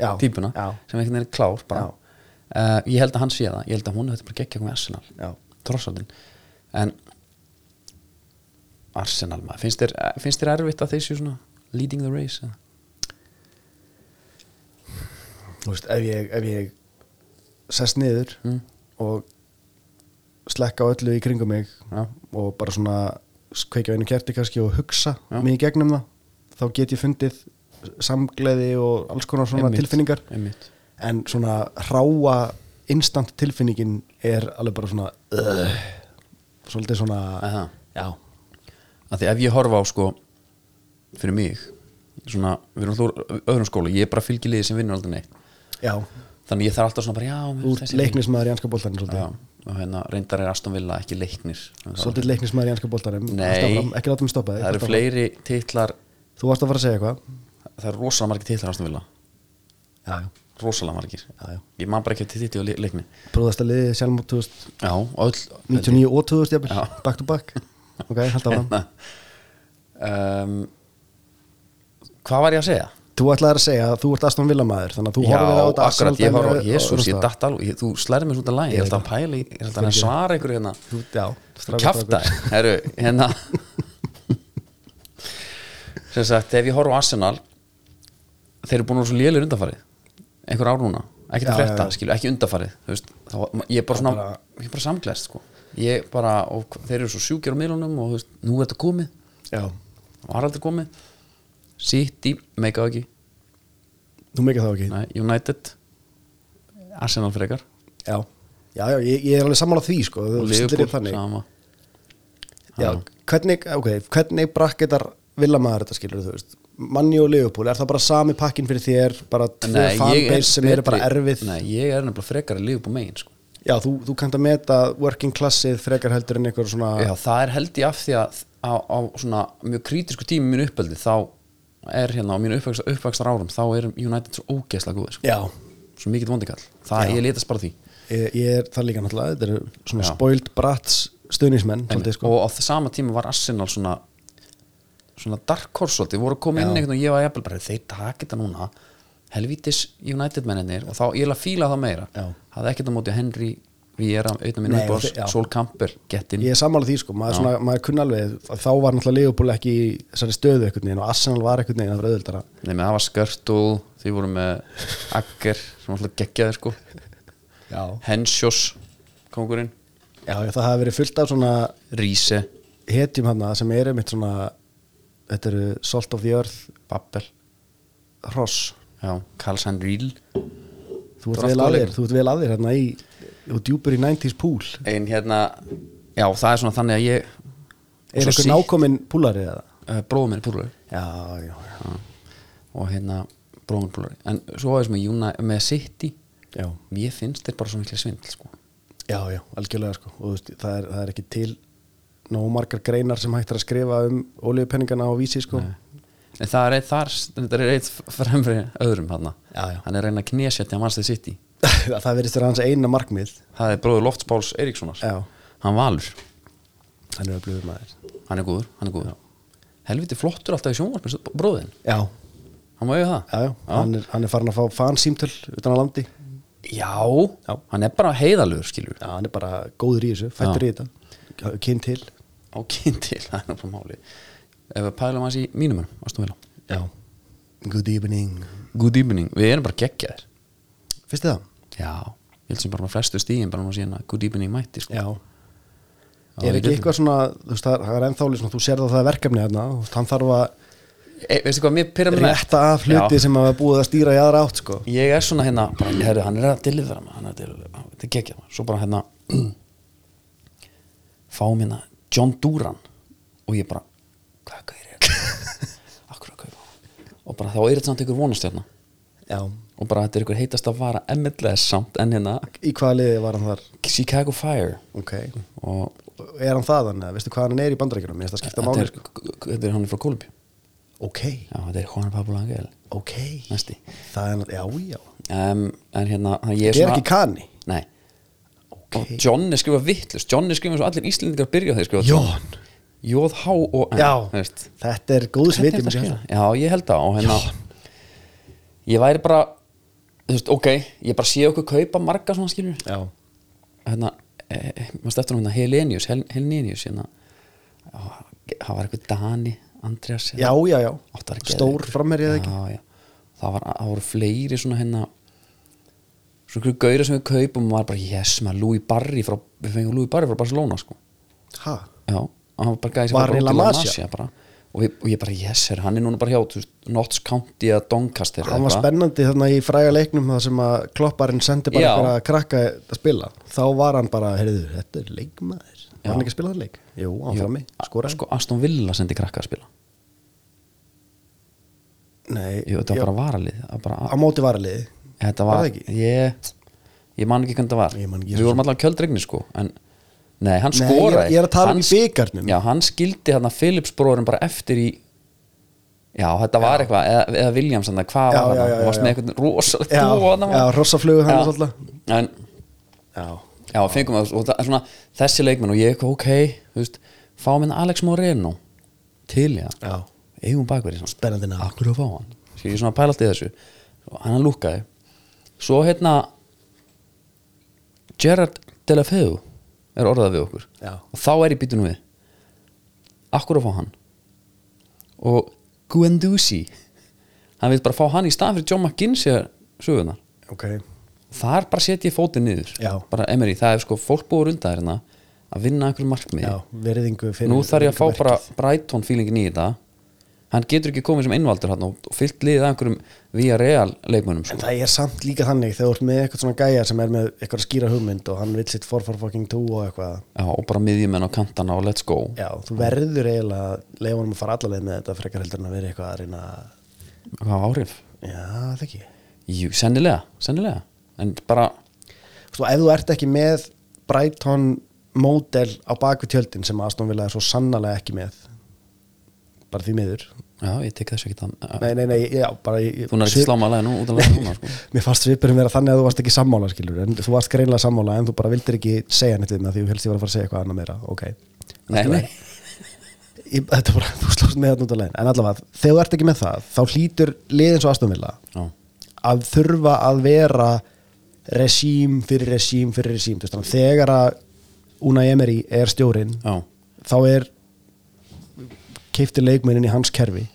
Speaker 2: Já,
Speaker 1: típuna
Speaker 2: já.
Speaker 1: sem einhvern veginn er klár bara uh, ég held að hann sé það, ég held að hún þetta bara geggja komið Arsenal,
Speaker 2: Já.
Speaker 1: trossaldin en Arsenal maður, finnst þér, eh, finnst þér erfitt að þeir séu svona leading the race eða?
Speaker 2: Þú veist, ef ég, ef ég sest niður
Speaker 1: Mm.
Speaker 2: og slekka á öllu í kringum mig
Speaker 1: Já.
Speaker 2: og bara svona kveikja á einu kerti kannski og hugsa
Speaker 1: Já.
Speaker 2: mig í gegnum það þá get ég fundið samgleði og alls konar svona
Speaker 1: Einmitt,
Speaker 2: tilfinningar
Speaker 1: einmitt.
Speaker 2: en svona ráa instant tilfinningin er alveg bara svona uh, svolítið svona
Speaker 1: Aha.
Speaker 2: já,
Speaker 1: að því ef ég horfa á sko fyrir mig svona, við erum alltaf úr öðrum skóla ég er bara fylgilegið sem vinnur aldrei neitt
Speaker 2: já,
Speaker 1: þannig ég þarf alltaf svona bara já, mér
Speaker 2: út
Speaker 1: finnst þessi-
Speaker 2: leiknismæður í anska boltanum svolítið,
Speaker 1: já, og hérna reyndar er Aston Villa ekki leiknir
Speaker 2: svolítið leiknismæður í anska boltanum
Speaker 1: Nei.
Speaker 2: Haltu áfram, ekki láta mig stoppa þig
Speaker 1: það eru
Speaker 2: haltu áfram.
Speaker 1: fleiri titlar
Speaker 2: þú varst að fara að segja eitthvað
Speaker 1: það eru rosalega margir titlar Aston Villa
Speaker 2: já, já
Speaker 1: rosalega margir
Speaker 2: Já, já.
Speaker 1: ég man bara ekki til titli og le- leikni
Speaker 2: Brúðasta liðið sjálfmót 2000,
Speaker 1: já, og öll
Speaker 2: 99 og 2000 jafnvel,
Speaker 1: Já.
Speaker 2: back to back ok, held áfram
Speaker 1: Hérna, um, hvað var ég að segja?
Speaker 2: þú ætlaðir að segja að þú ert Aston Villa maður þannig að þú
Speaker 1: já,
Speaker 2: horfir á þetta
Speaker 1: akkurat, ég var á
Speaker 2: dæmi-
Speaker 1: Jésús, ég
Speaker 2: og-
Speaker 1: datt alveg ég, þú slærið mér svo út af lægin, ég held að hann pæli ég held að hann svara ykkur hérna
Speaker 2: Þú- já, strákur,
Speaker 1: kjafta,
Speaker 2: strákur.
Speaker 1: herru, hérna sem sagt, ef ég horf á Arsenal þeir eru búin að vera svo lélir undarfarið einhver ár núna, ekkert að
Speaker 2: Já, já,
Speaker 1: frétta,
Speaker 2: já.
Speaker 1: skilju, ekki undarfarið þú veist, þá, ég er bara svona, ég er bara samglest sko. ég bara, og hva- þeir eru svo sjúkir á miðlunum og þú veist, nú er þetta komið
Speaker 2: já,
Speaker 1: var aldrei komið City, meika það ekki
Speaker 2: þú mikið þá ekki
Speaker 1: Nei, United Arsenal frekar
Speaker 2: já, já, já ég, ég er alveg sammála því sko, þú
Speaker 1: og
Speaker 2: stillir
Speaker 1: Liverpool
Speaker 2: upp þannig
Speaker 1: sama
Speaker 2: já, hvernig, ok, hvernig brakketar Villa maður þetta skilur þú veist manni og Liverpool, er það bara sami pakkin fyrir þér bara tvö
Speaker 1: Nei, ég er
Speaker 2: fanbase sem eru bara
Speaker 1: betri-
Speaker 2: erfið
Speaker 1: Nei, ég er nefnilega frekar að Liverpool megin sko.
Speaker 2: já, þú, þú kannt að meta working classið frekar heldur en eitthvað svona
Speaker 1: Já, það er held ég af því að á, á svona mjög krítisku tími í mínu uppeldi þá er hérna á mínu uppvækstar, uppvækstar árum þá er United svo ógeðslega góðir sko.
Speaker 2: já.
Speaker 1: svo mikill vondikall, það
Speaker 2: Já.
Speaker 1: ég litast bara því
Speaker 2: ég, ég er það líka náttúrulega þetta eru svona
Speaker 1: Já.
Speaker 2: spoiled brats stuðnismenn svolítið, sko.
Speaker 1: og á það sama tíma var Arsenal svona svona dark horse svolítið, voru að koma inn einhvern og ég var jafnvel bara, þeir taki þetta núna helvítis United menninir og þá ég ætla að fíla það meira
Speaker 2: Já.
Speaker 1: hafði ekkert á móti Henry, við erum auðvitað minn
Speaker 2: Nei,
Speaker 1: uppbórs,
Speaker 2: þeir- já.
Speaker 1: Sol Campbell gettin,
Speaker 2: ég er sammála því sko, maður, svona, maður kunna alveg að þá var náttúrulega Leopold ekki í þessari stöðu einhvern veginn og Arsenal var einhvern veginn að vera auðvöldara
Speaker 1: nema það var Skörtul þeir voru með Agger sem alltaf geggjaði sko
Speaker 2: já.
Speaker 1: Hensjós, kongurinn
Speaker 2: já, það hafi verið fullt af svona
Speaker 1: Ríse,
Speaker 2: hetjum hana sem eru mitt svona þetta eru Salt of the Earth
Speaker 1: Babbel
Speaker 2: Ross,
Speaker 1: já, Karlsson Ríl Það
Speaker 2: þú ert
Speaker 1: er
Speaker 2: vel
Speaker 1: allt
Speaker 2: að
Speaker 1: góð
Speaker 2: þér þú ert vel að þér hérna í, og djúpur í 90s pool
Speaker 1: en hérna, já það er svona þannig að ég
Speaker 2: er
Speaker 1: Svo
Speaker 2: eitthvað
Speaker 1: sí-
Speaker 2: nákominn púlarið eða?
Speaker 1: uh, bróðum minn er púlari
Speaker 2: já, já, já,
Speaker 1: og hérna bróðum minn er púlari en svo aðeins með, Júna, með City
Speaker 2: já.
Speaker 1: mér finnst þeir bara svo miklu svindl sko.
Speaker 2: Já, já, algjörlega sko og þú veist, það, er, það er ekki til nógu margar greinar sem hægt er að skrifa um olíupenningana á vísi sko
Speaker 1: en það er eitt þar þetta er eitt fremri öðrum hann
Speaker 2: Já, já.
Speaker 1: hann er að reyna að knésetja mannstæði City
Speaker 2: það verðist vera hans eina markmið
Speaker 1: það er bróður Lofts Páls Eiríkssonar
Speaker 2: Já.
Speaker 1: hann valur,
Speaker 2: hann er að blöður maður
Speaker 1: hann er góður, hann er góður. helviti flottur alltaf í sjónvarpins bróðin,
Speaker 2: já,
Speaker 1: hann má eiga það
Speaker 2: já, já. Hann, er, hann er farin að fá fansímtöl utan að landi
Speaker 1: Já,
Speaker 2: Já.
Speaker 1: hann er bara heiðalur skilur
Speaker 2: já, hann er bara góður í þessu, fættur
Speaker 1: Já.
Speaker 2: í þetta kyn til
Speaker 1: á kynntil, það er náttúrulega máli ef við pælum hans í mínum önum, ástum vilja
Speaker 2: já. good evening
Speaker 1: Good evening, við erum bara geggjaðir
Speaker 2: finnst þið það?
Speaker 1: Já, ég held sem bara með flestu stíðin bara nú að síðan að good evening mætti sko.
Speaker 2: já
Speaker 1: við
Speaker 2: er ekki
Speaker 1: getum.
Speaker 2: eitthvað svona, þú veist, það er- það er ennþáli svona, þú sér það að það er verkefni hérna, þú veist, hann þarf að
Speaker 1: e, Veistu hvað, mér pyrra mér
Speaker 2: rétta af hluti sem hafa búið að stýra í aðra átt, sko
Speaker 1: Ég er svona hérna, bara, herri, hann er að deliðra hann er að deliðra, þetta er geggjað maður. Svo bara hérna fá minna John Duran og ég bara, hvað gæri er þetta? Akkur að kaupa hann? og bara þá er þetta samt ykkur vonastjarna
Speaker 2: já,
Speaker 1: og bara þetta er ykkur heitast að vara MLS samt en hérna
Speaker 2: í hvaða liði var hann þar?
Speaker 1: Chicago Fire
Speaker 2: ok,
Speaker 1: og
Speaker 2: er hann það hann, eða veistu hvað hann er í bandarækjunum, ég veist að skipta
Speaker 1: þetta
Speaker 2: máli
Speaker 1: er,
Speaker 2: sko.
Speaker 1: þetta er hann er frá Kolumbi
Speaker 2: ok,
Speaker 1: já, þetta er Juan Pablo Angel
Speaker 2: ok
Speaker 1: næsti
Speaker 2: það er, já, já,
Speaker 1: um, en hérna, þannig að ég
Speaker 2: ég er ekki kanni
Speaker 1: nei, og
Speaker 2: ok,
Speaker 1: John er skrifað vittlust John er skrifað svo allir íslendingar byrja á þeir skrifað
Speaker 2: Jón
Speaker 1: Jóð H og N
Speaker 2: Já,
Speaker 1: þú veist.
Speaker 2: þetta er góðs
Speaker 1: Hvernig
Speaker 2: viti
Speaker 1: er þetta
Speaker 2: mér
Speaker 1: að
Speaker 2: sér
Speaker 1: skrifa? já, ég held það og hérna ég væri bara þú veist, ok, ég bara sé okkur kaupa marga svona skilur
Speaker 2: Já,
Speaker 1: hérna, eh, mást eftir hún hérna Helenius, Hel Helenius hérna Ó, það var eitthvað Dani Andreas
Speaker 2: já, já, já
Speaker 1: Átti að vera
Speaker 2: Stór
Speaker 1: geðveikur.
Speaker 2: framherjið eða ekki
Speaker 1: já, já. það var, það voru fleiri svona hérna svona ykkur gauðir sem við kaupum og maður bara, yes, maður Louis Barry frá, við fengum Louis Barry frá Barcelona sko.
Speaker 2: Ha,
Speaker 1: já, og hann var bara gæði
Speaker 2: Barry La Masia?
Speaker 1: bara og, við, og ég bara, yes, her, hann er núna bara hjá þú veist, Notts County eða Doncaster eða
Speaker 2: hann var
Speaker 1: eitthvað.
Speaker 2: spennandi þarna í fræga leiknum það sem að klopparinn sendi bara
Speaker 1: Já.
Speaker 2: eitthvað að krakka að spila þá var hann bara, heyrðu, þetta er leikmaður Var hann ekki að spila það leik? Jú, hann
Speaker 1: Jú,
Speaker 2: frammi, skoraði
Speaker 1: sko, Aston Villa sendi krakka að spila
Speaker 2: Nei,
Speaker 1: Jú, þetta var bara varalið það var
Speaker 2: á
Speaker 1: bara,
Speaker 2: móti varaliði
Speaker 1: þetta
Speaker 2: var
Speaker 1: var,
Speaker 2: það ekki?
Speaker 1: ég, ég man ekki hvernig það var
Speaker 2: Ég man ekki, ég
Speaker 1: við
Speaker 2: svo
Speaker 1: vorum allavega kjöldregni sko en, nei, hann
Speaker 2: Nei,
Speaker 1: skoraði
Speaker 2: ég er- ég er að tala um
Speaker 1: Hann
Speaker 2: í
Speaker 1: sk-
Speaker 2: bikarnum.
Speaker 1: já, hann skildi hérna Philips bróðurinn bara eftir í já, þetta var eitthvað eða, eða Williams, hann, hvað
Speaker 2: Já,
Speaker 1: var
Speaker 2: já,
Speaker 1: hann
Speaker 2: já,
Speaker 1: þú varst
Speaker 2: já.
Speaker 1: með eitthvað rosalegt
Speaker 2: Já,
Speaker 1: dúo þarna,
Speaker 2: já,
Speaker 1: maður.
Speaker 2: hrossaflugu hann
Speaker 1: Já.
Speaker 2: og svolítið.
Speaker 1: en,
Speaker 2: Já,
Speaker 1: já, fengum við og það er svona, þessi leikmenn og ég eitthvað, ok þú veist, fá minn Alex Moreno til, já,
Speaker 2: já,
Speaker 1: eigum bakverði
Speaker 2: Spennandi nafn.
Speaker 1: akkur að fá hann Skil, ég svona pæla alltaf í þessu og hann lúkaði svo hérna Gerard Delafeu er orðað við okkur
Speaker 2: Já.
Speaker 1: og þá er ég býtunum við akkur að fá hann og Guendouzi hann vil bara fá hann í staðan fyrir John McGinsey sögunar
Speaker 2: ok
Speaker 1: þar bara setja ég fótið niður
Speaker 2: Já.
Speaker 1: bara Emery, það er sko fólk búið runda hérna að vinna einhverjum markmið
Speaker 2: Já, veriðingu fyrir
Speaker 1: nú þarf ég að fá
Speaker 2: verkið.
Speaker 1: bara Brighton feelingin í þetta hann getur ekki komið sem innvaldur hann og fyllt liðið að einhverjum via real leikmönnum
Speaker 2: En
Speaker 1: sko.
Speaker 2: það er samt líka þannig þegar þú ert með eitthvað svona gæja sem er með eitthvað skýra hugmynd og hann vill sitt 4-4-2 og eitthvað
Speaker 1: Já, og bara miðjumenn á kantana og let's go
Speaker 2: Já, þú verður eiginlega að leifa honum að fara alla leið með þetta frekar heldur en að vera eitthvað að reyna að-
Speaker 1: hvað hafa áhrif?
Speaker 2: Já, það ekki
Speaker 1: Jú, sennilega, sennilega en bara,
Speaker 2: Svo ef þú ert ekki með Brighton módel á bakvið tjöldin sem Aston Villa er svo sannarlega ekki með bara því miður
Speaker 1: já, ég tek þessu ekki að
Speaker 2: Nei, nei, nei, já, bara ég,
Speaker 1: þú nær ekki sláma að leið nú út að leið núna sko.
Speaker 2: Mér fannst svipurinn vera þannig að þú varst ekki sammála skilur, en þú varst greinlega sammála en þú bara vildir ekki segja neitt við mig af því þú helst ég var að fara að segja eitthvað annað meira, ok
Speaker 1: nei, nei,
Speaker 2: Ég- þetta bara, þú slóst með þetta út af legin en allavega, þegar þú ert ekki með það þá hlýtur liðin svo aðstofnvilla
Speaker 1: Já.
Speaker 2: að þurfa að vera resím fyrir resím fyrir resím Þú veist, þannig að þegar að Unai Emery er stjórin
Speaker 1: já,
Speaker 2: þá er keifti leikmennin í hans kerfi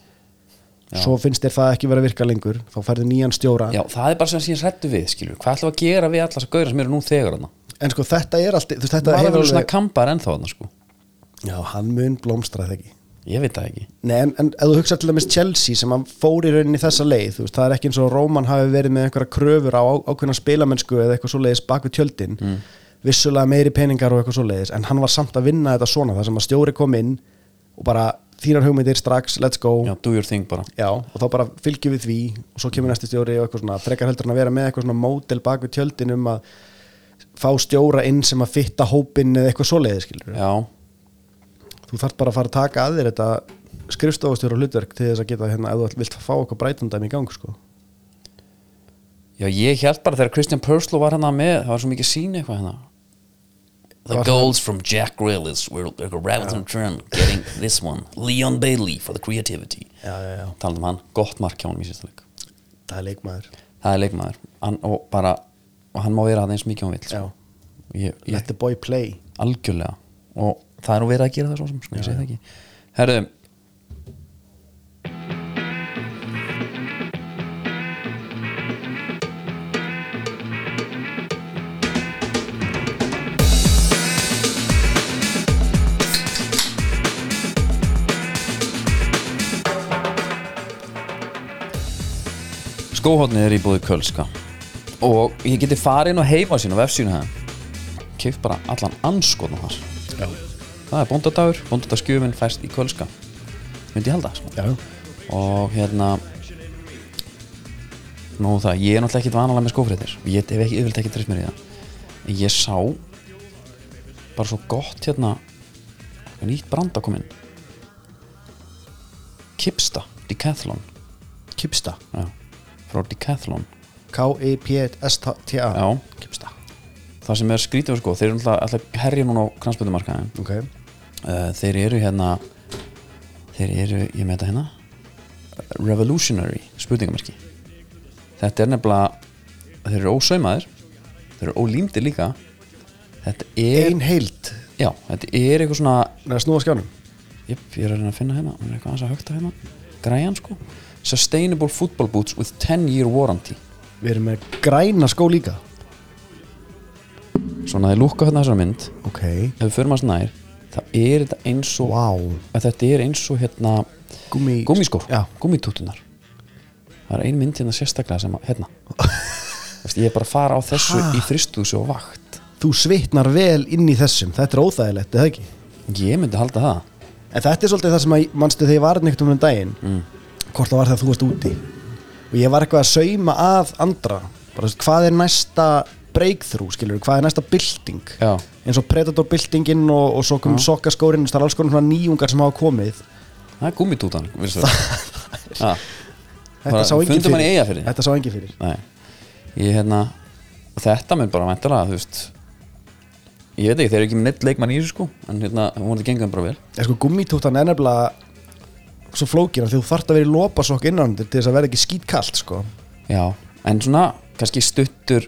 Speaker 2: svo finnst þér það ekki vera að virka lengur þá færðu nýjan stjóra
Speaker 1: já, það er bara sem síðan hrættu við skilur, hvað ætlum við að gera við allas að gauðra sem eru nú þegar hann
Speaker 2: en sko þetta er allt þú veist, þetta
Speaker 1: það
Speaker 2: hefur
Speaker 1: hefur svona
Speaker 2: alveg
Speaker 1: kampar ennþá hann sko.
Speaker 2: já, hann mun blómstra það ekki
Speaker 1: ég veit það ekki
Speaker 2: Nei, en, en ef þú hugsa til dæmis Chelsea sem hann fór í rauninni þessa leið þú veist, það er ekki eins og Róman hafi verið með einhverja kröfur á á- ákveðna spilamennsku eða eitthvað svoleiðis bak við tjöldin vissulega meiri peningar og eitthvað svoleiðis en hann var samt að vinna þetta svona þar sem að stjóri kom inn og bara þínar hugmyndir strax, let's go
Speaker 1: já, do your thing bara
Speaker 2: Já, og þá bara fylgjum við því og svo kemur næsti stjóri og eitthvað svona frekar heldur hann að vera með eitthvað svona mótel bak við tjöldin um að fá stjóra inn sem að fitta hópinn eða eitthvað svoleiðis skilur
Speaker 1: já,
Speaker 2: þú þarf bara að fara að taka að þér þetta skrifstofastjóra hlutverk til þess að geta hérna, ef þú vilt fá eitthvað breytandæmi í gang sko.
Speaker 1: Já, ég held bara þegar Christian Purslow var hann með það var svo mikið sín eitthvað hann The goals from Jack Grealish were like a rabbit in turn getting this one Leon Bailey for the creativity
Speaker 2: Já, já, já.
Speaker 1: Talandi um hann, gott mark hjá hann í sísta leik
Speaker 2: það er leikmaður
Speaker 1: Það er leikmaður hann, og, bara, og hann má vera aðeins mikið hann vill sko. ég,
Speaker 2: Let
Speaker 1: ég,
Speaker 2: the boy play
Speaker 1: Algjörlega og það er nú verið að gera það svo sem sko, ég segi það ekki Herðu, skóhóttnið er í búið Kölska og ég geti farið inn á heifa sín og vefsínu það keif bara allan anskotnum þar
Speaker 2: Já.
Speaker 1: það er bóndadagur, bóndadaskjöfin fæst í Kölska myndi ég halda sko.
Speaker 2: Já,
Speaker 1: og hérna nú það, ég er náttúrulega ekkit vanalega með skófréttir ég hef ekki yfirlega ekki treyst mér í það en ég sá bara svo gott hérna nýtt branda kominn Kipsta Decathlon
Speaker 2: Kipsta
Speaker 1: já, frá Decathlon
Speaker 2: K-I-P-S-T-A
Speaker 1: Já.
Speaker 2: Kipsta
Speaker 1: það sem er skrítið sko, þeir eru náttúrulega alltaf herja núna á kransböndumarkaðin
Speaker 2: Ok
Speaker 1: uh, þeir eru hérna þeir eru, ég með þetta hérna revolutionary spurningamarki þetta er nefnilega þeir eru ósaumaðir þeir eru ólímdir líka þetta er,
Speaker 2: Ein heild
Speaker 1: já, þetta er eitthvað svona
Speaker 2: Nei, snúa skjánum
Speaker 1: jöp, ég er að reyna að finna hérna, hún er eitthvað aðeins að högta hérna græjan sko, sustainable football boots with 10 year warranty
Speaker 2: Við erum með græna skó líka
Speaker 1: svona þeir lúka hérna þessar mynd
Speaker 2: Ok
Speaker 1: ef við förum að snær það er þetta eins og
Speaker 2: Vá
Speaker 1: að þetta er eins og hérna
Speaker 2: Gúmi
Speaker 1: gúmiskór,
Speaker 2: Já
Speaker 1: gúmitútunar það er ein mynd hérna sérstaklega sem að hérna Vist, ég er bara að fara á þessu
Speaker 2: Ha?
Speaker 1: í fristúsi og vakt
Speaker 2: Þú svitnar vel inn í þessum Þetta er óþægilegt, er það ekki?
Speaker 1: ég myndi halda það
Speaker 2: En þetta er svolítið það sem að, manstu þegar ég var neitt um daginn mm. Hvort það var þegar þú varst úti Og ég var eitthvað að sauma að andra Bara, þú veist, hvað er næsta breakthrough, skilur Hvað er næsta bylting
Speaker 1: Já.
Speaker 2: Eins og Predator byltingin og, og svo kom sokkaskórin Það er alls konar svona nýjungar sem hafa komið
Speaker 1: það er gúmitútan virðist vera.
Speaker 2: Þetta
Speaker 1: Bara,
Speaker 2: sá enginn
Speaker 1: fundum hann í
Speaker 2: fyrir
Speaker 1: Eyjafirði?
Speaker 2: Þetta sá enginn fyrir
Speaker 1: Já, nei. ég hérna og þetta mynd bara mæntalega þú veist ég veit ekki, þeir eru ekki með neitt leikmann í þessu sko en hérna, hún er gengum bara vel
Speaker 2: En sko gummitúttan er nefnilega svo flókina því þú þarft að vera í lopasokk innanundir til þess að vera ekki skítkalt sko.
Speaker 1: já, en svona, kannski stuttur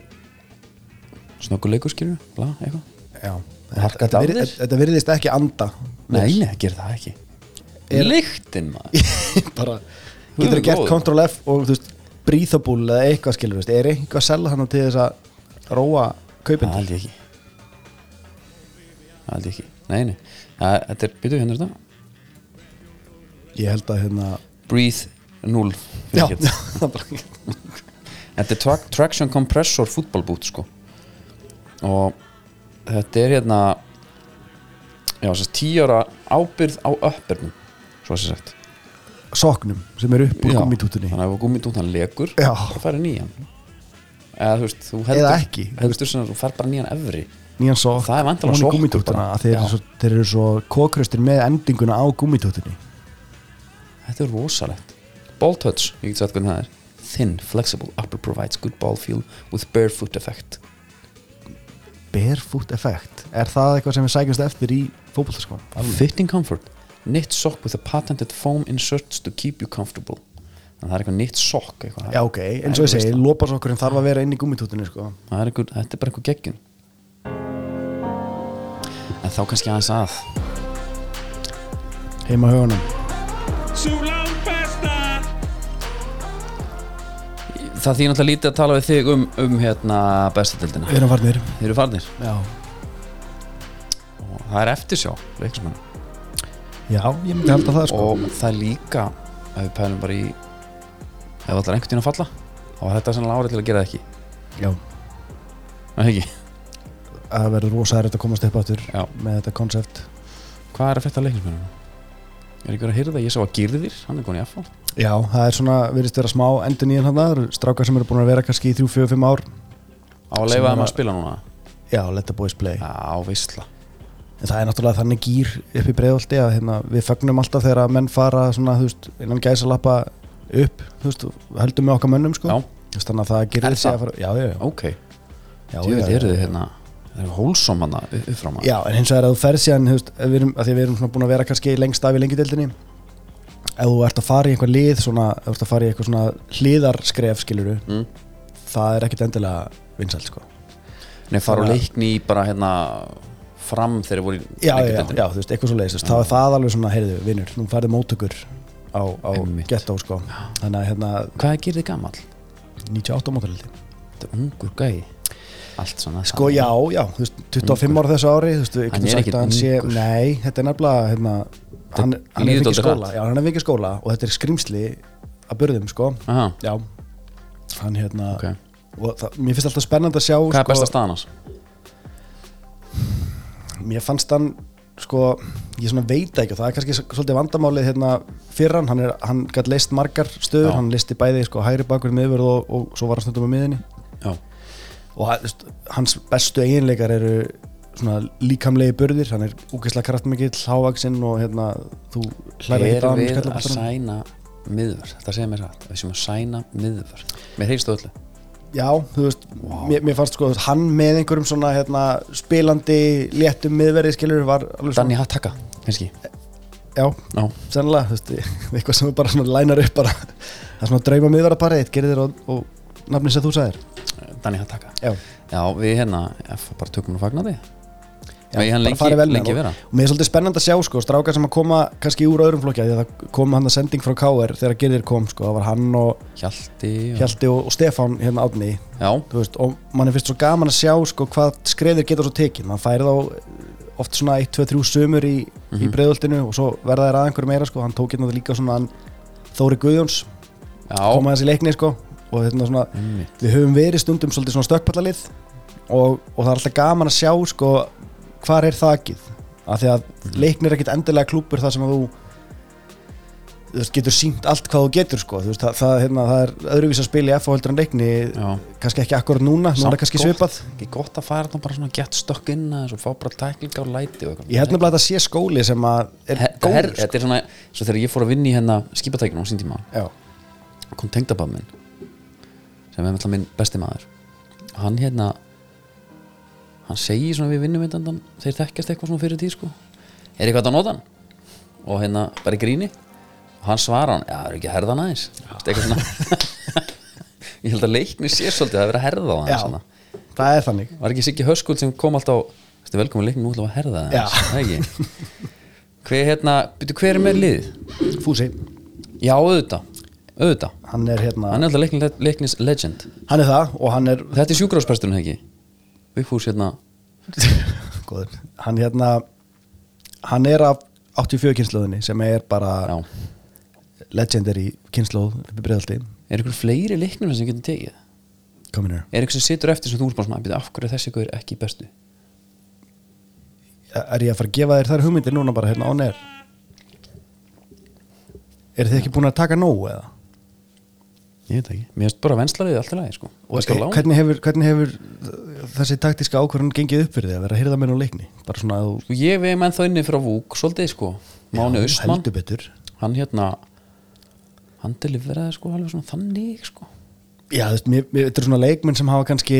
Speaker 1: snöggur leikurskýru bla, eitthvað
Speaker 2: Já.
Speaker 1: Harka
Speaker 2: Þetta,
Speaker 1: þetta af
Speaker 2: virð-
Speaker 1: þér?
Speaker 2: þetta, þetta virðist ekki anda
Speaker 1: nei, nei, gerir það ekki
Speaker 2: Er-
Speaker 1: lyktin maður
Speaker 2: bara
Speaker 1: Guð
Speaker 2: getur
Speaker 1: minn
Speaker 2: gert
Speaker 1: góður.
Speaker 2: Ctrl F og þú veist breathable eða eitthvað skilur þú veist er eitthvað að selja hann til þess að róa
Speaker 1: Það
Speaker 2: kaupin
Speaker 1: held ég ekki Það held ég ekki Nei, nei, það, þetta er, býtu hérna er þetta
Speaker 2: ég held að hérna
Speaker 1: Breathe 0
Speaker 2: já,
Speaker 1: fyrirgefðu.
Speaker 2: það er bara-
Speaker 1: Þetta er tra Traction Compressor football boot sko Og þetta er hérna Já, þess að 10 ára ábyrð á öppurnum Svo að sér sagt
Speaker 2: sokknum sem eru upp úr
Speaker 1: Já,
Speaker 2: gummitúttunni
Speaker 1: Þannig að ef gummitútan lekur
Speaker 2: Já.
Speaker 1: þá færi nýjan Eða þú veist, þú heldur
Speaker 2: Eða ekki.
Speaker 1: Heldur sem að þú fær bara nýjan efri
Speaker 2: nýjan sokk
Speaker 1: Það er væntanlega
Speaker 2: ofan í
Speaker 1: sokkur
Speaker 2: gúmmítúttuna,
Speaker 1: bara.
Speaker 2: að þeir
Speaker 1: Já.
Speaker 2: eru svo, þeir eru svo kókröstir með endinguna á gummitúttunni
Speaker 1: Þetta er rosalegt Ball touch, ég get sagt hvernig það er Thin, flexible upper provides good ball feel with barefoot effect
Speaker 2: barefoot effect er það eitthvað sem við sækjumst eftir í fótbolltaskóum
Speaker 1: Fitting comfort Knit sock with a patented foam inserts to keep you comfortable Þannig að það er eitthvað knit sock eitthvað.
Speaker 2: já ok, eins og ég segi, lópasokkurinn þarf að vera inn í gummitútunni sko.
Speaker 1: Það er einhver, Þetta er bara eitthvað geggjun En þá kannski aðeins að
Speaker 2: heima á hugunum
Speaker 1: Það þýr náttúrulega lítið að tala við þig um, um hérna bestadildina
Speaker 2: við erum farnir
Speaker 1: Þeir eru farnir
Speaker 2: já.
Speaker 1: og það er eftirsjá leikismann
Speaker 2: já, ég myndi held að það sko.
Speaker 1: og það er líka ef við pælum bara í ef það er einhvern tíðan að falla þá er þetta sannlega árið til að gera það ekki
Speaker 2: já,
Speaker 1: Er það ekki
Speaker 2: það verður rosa erfitt að komast upp áttur
Speaker 1: Já.
Speaker 2: með þetta koncept
Speaker 1: hvað er að fætta leiknismennum er einhver að heyra það ég sá að Girðir hann er konið affál
Speaker 2: já, það er svona, virðist vera smá endur nýjan hann það eru strákar sem eru búin að vera kannski í 3-4-5 ár
Speaker 1: á að
Speaker 2: Sem
Speaker 1: leifa
Speaker 2: er
Speaker 1: þeim
Speaker 2: að-
Speaker 1: að spila núna
Speaker 2: já, let the boys play
Speaker 1: á veistla
Speaker 2: En það er náttúrulega þannig gýr upp í breiðolti að hérna, við fagnum alltaf þegar að menn fara svona, þú veist, innan gæsa lappa upp, þú veist, og höldum með okkar mönnum sko.
Speaker 1: já
Speaker 2: Þess Þannig að það gerir
Speaker 1: Er
Speaker 2: sig
Speaker 1: það?
Speaker 2: að fara Já, já, já,
Speaker 1: ok,
Speaker 2: já,
Speaker 1: þú
Speaker 2: já,
Speaker 1: veit,
Speaker 2: já.
Speaker 1: eru þið hérna þeir eru hólsom hana upp frá maður
Speaker 2: já en hins vegar að þú ferð síðan hefst, við erum, að því að við erum svona búin að vera kannski lengst af í lengideildinni ef þú ert að fara í einhver lið svona, ef þú ert að fara í eitthvað svona hliðarskref skiluru
Speaker 1: Mm.
Speaker 2: það er ekkit endilega vinsælt sko
Speaker 1: Nei, fara á
Speaker 2: Þannig að-
Speaker 1: leikni í bara hérna fram þegar þeir voru í
Speaker 2: já, já,
Speaker 1: leikjadeildinni.
Speaker 2: já, þú veist, eitthvað svo leiðist þá er það alveg svona, heyrðu, vinnur, nú færðu móttökur á, á
Speaker 1: Einmitt.
Speaker 2: gettó sko þannig að hérna,
Speaker 1: Hvað gerir þið gamall?
Speaker 2: 98 móttökur
Speaker 1: Þetta er ungur gæi Allt svona
Speaker 2: Sko já, já, þú veist, 25 ára þessu ári þú veist, við
Speaker 1: Hann
Speaker 2: getum
Speaker 1: er
Speaker 2: sagt
Speaker 1: ekkit
Speaker 2: að hann sé,
Speaker 1: ungur.
Speaker 2: nei, þetta er nefnilega hérna, hann, hann er
Speaker 1: líður
Speaker 2: vikið
Speaker 1: dálítið
Speaker 2: skóla
Speaker 1: hratt.
Speaker 2: já, hann er vikið skóla og þetta er skrimsli að burðum, sko
Speaker 1: Aha,
Speaker 2: já, hann hérna
Speaker 1: ok.
Speaker 2: og það, mér finnst alltaf spennandi að sjá
Speaker 1: Hvað er
Speaker 2: sko,
Speaker 1: besta staðan hans?
Speaker 2: mér fannst hann, sko ég svona veit ekki, og það er kannski s- svolítið vandamálið hérna fyrir hann, hann, er, hann gætt leist margar stöður,
Speaker 1: Já.
Speaker 2: hann listi bæði sko hægri bakur miðvörð og, og svo var hann stundum á miðinni
Speaker 1: Já,
Speaker 2: og hann- þú veist, hans bestu eiginleikar eru svona líkamlegi burðir hann er úkislega kraftmikill, hávaksinn og hérna, þú hlæra ekki
Speaker 1: er
Speaker 2: að hann
Speaker 1: við að
Speaker 2: skallaboltanum.
Speaker 1: sæna miðvörð Þetta segir mér satt, við séum að sæna miðvörð Mér heyrstu öllu
Speaker 2: já, þú veist, mér, mér fannst sko þú veist, hann með einhverjum svona hérna, spilandi léttum miðverði skilur var alveg
Speaker 1: Danni Hattaka, kannski
Speaker 2: já,
Speaker 1: Já,
Speaker 2: sennilega, þú veist, eitthvað sem bara svona lænar upp bara, það er svona drauma miðverðarparið, gerir þér og, og nafnin sem þú sagðir,
Speaker 1: Danni Hattaka
Speaker 2: já
Speaker 1: Já, við hérna, ég, bara tökum hún að fagna því
Speaker 2: Já,
Speaker 1: Megi hann
Speaker 2: bara
Speaker 1: lengi-
Speaker 2: farið vel með
Speaker 1: lengi
Speaker 2: hann.
Speaker 1: vera.
Speaker 2: og mér er svolítið spennand að sjá sko, strákar sem að koma kannski úr öðrum flokki af því að það kom hann að sending frá KR þegar Gyrðir kom sko, það var hann og
Speaker 1: Hjalti og...
Speaker 2: Hjalti og, og Stefán hérna átni
Speaker 1: Já,
Speaker 2: veist, og mann er fyrst svo gaman að sjá sko, hvað skreðir geta svo tekið mann fær þá eh, oft svona 1, 2, 3 sömur í, í breiðultinu og svo verða þær að einhverju meira sko, hann tók hérna líka svona hann, Þóri Guðjóns, kom
Speaker 1: já,
Speaker 2: aðeins í leikni sko, og þetta er svona
Speaker 1: einmitt.
Speaker 2: við höfum verið stundum svolítið svona stökkpallalið og, og það er alltaf gaman að sjá sko, hvar er þakið af því að leiknir er ekkit endilega klúpur þar sem að þú, þú veist, getur sínt allt hvað þú getur sko. þú veist, það, það, hérna, það er öðruvís að spila í F og heldur en leikni
Speaker 1: já
Speaker 2: kannski ekki akkurat núna, núna
Speaker 1: Samt
Speaker 2: er kannski
Speaker 1: gott.
Speaker 2: svipað
Speaker 1: ekki gott að fara þarna bara svona gett stökk inn aðeins og fá bara tæklinga og læti og
Speaker 2: ég held nefnilega að þetta sé skóli sem að er
Speaker 1: He- þetta
Speaker 2: góður
Speaker 1: her-
Speaker 2: sko.
Speaker 1: þetta er svona, svo þegar ég fór að vinna í hérna skipatækinu á sín tíma
Speaker 2: Já,
Speaker 1: kom tengdabab minn sem er með minn besti maður hann hérna hann segir svona við vinnum eindandan þeir þekkjast eitthvað svona fyrir tíð sko er eitthvað hægt að nota hann og hérna bara í gríni og hann svara hann, já það eru ekki að herða hann aðeins Veist, eitthvað svona ég held að leikni sé svolítið að vera að herða hann
Speaker 2: Já.
Speaker 1: aðeins svona.
Speaker 2: það er þannig
Speaker 1: Var ekki Siggi Höskuld sem kom alltaf Þetta er velkomin leiknum út af að herða það
Speaker 2: Já.
Speaker 1: aðeins, það ekki Hver, hérna, byrju, hver er með liðið?
Speaker 2: Fúsi,
Speaker 1: Já, auðvitað, auðvitað
Speaker 2: hann er hérna
Speaker 1: Hann er alltaf leiknis, leiknis legend
Speaker 2: hann er það og hann er
Speaker 1: Þetta er sjúkráspresturinn, ekki? Vigfús, hérna
Speaker 2: Góður. hann hérna hann er af 84 kynnslóðinni sem er bara
Speaker 1: Já,
Speaker 2: legendary kynnslóð uppi breyðaldi
Speaker 1: er einhver fleiri leiknum sem getur tekið?
Speaker 2: komin hér
Speaker 1: Er einhver sem situr eftir sem þú er bara svona "Bíddu, Af hverju er þessi ykkur ekki í bestu?
Speaker 2: er ég að fara að gefa þér þær hugmyndir núna bara hérna án er er þið ekki búin að taka nóg eða
Speaker 1: Ég veit það ekki Mér finnst bara venslariðið allt í lagi, sko
Speaker 2: og e,
Speaker 1: Kannski á láni.
Speaker 2: hvernig hefur, hvernig hefur þessi taktíska ákvörðun gengið upp fyrir þið að vera að hyrða með nú leikni bara svona að þú
Speaker 1: Sko, Ég veið menn þá inni frá Vúk, svolítið, sko Máni Austmann
Speaker 2: heldur betur
Speaker 1: hann hérna hann deliveraði sko alveg svona þannig sko
Speaker 2: já þú veist, mér, mér, þetta er svona leikmenn sem hafa kannski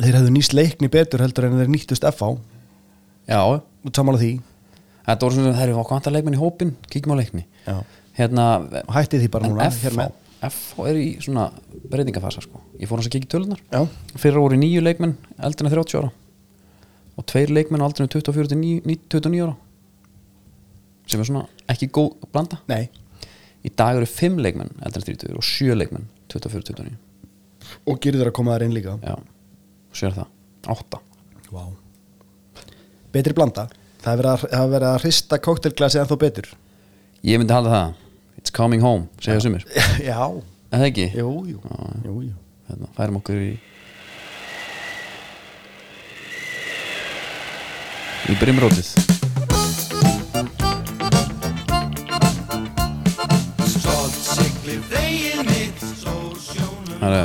Speaker 2: þeir hefðu nýst leikni betur heldur en þeir nýttust FH
Speaker 1: já,
Speaker 2: samála því
Speaker 1: þetta voru svona það er við okkur antar leikmenn í hópin, kíkjum á leikni
Speaker 2: Já.
Speaker 1: hérna,
Speaker 2: og hætti því bara
Speaker 1: en
Speaker 2: núna hér
Speaker 1: FH
Speaker 2: með
Speaker 1: FH er í svona breytingafasa sko ég fór hans að kíkja í tölunar
Speaker 2: Já.
Speaker 1: fyrra voru nýju leikmenn eldrinu 30 ára og tveir leikmenn á aldrinu 24 til 9 ní- 29 ára sem er svona ekki góð blanda
Speaker 2: Nei,
Speaker 1: í dag eru fimm leikmenn eldrinu 30 og sjö leikmenn 24-29
Speaker 2: og gerir þeir að koma þær inn líka
Speaker 1: já, sér það átta
Speaker 2: wow. Betri blanda Það er verið að, það er verið að hrista kóktelglasi en þó betur
Speaker 1: Ég myndi halda það It's coming home, segja sumir
Speaker 2: Já,
Speaker 1: En það ekki,
Speaker 2: jú, jú, jú, jú.
Speaker 1: hérna, færum okkur í Í brimrótið Það er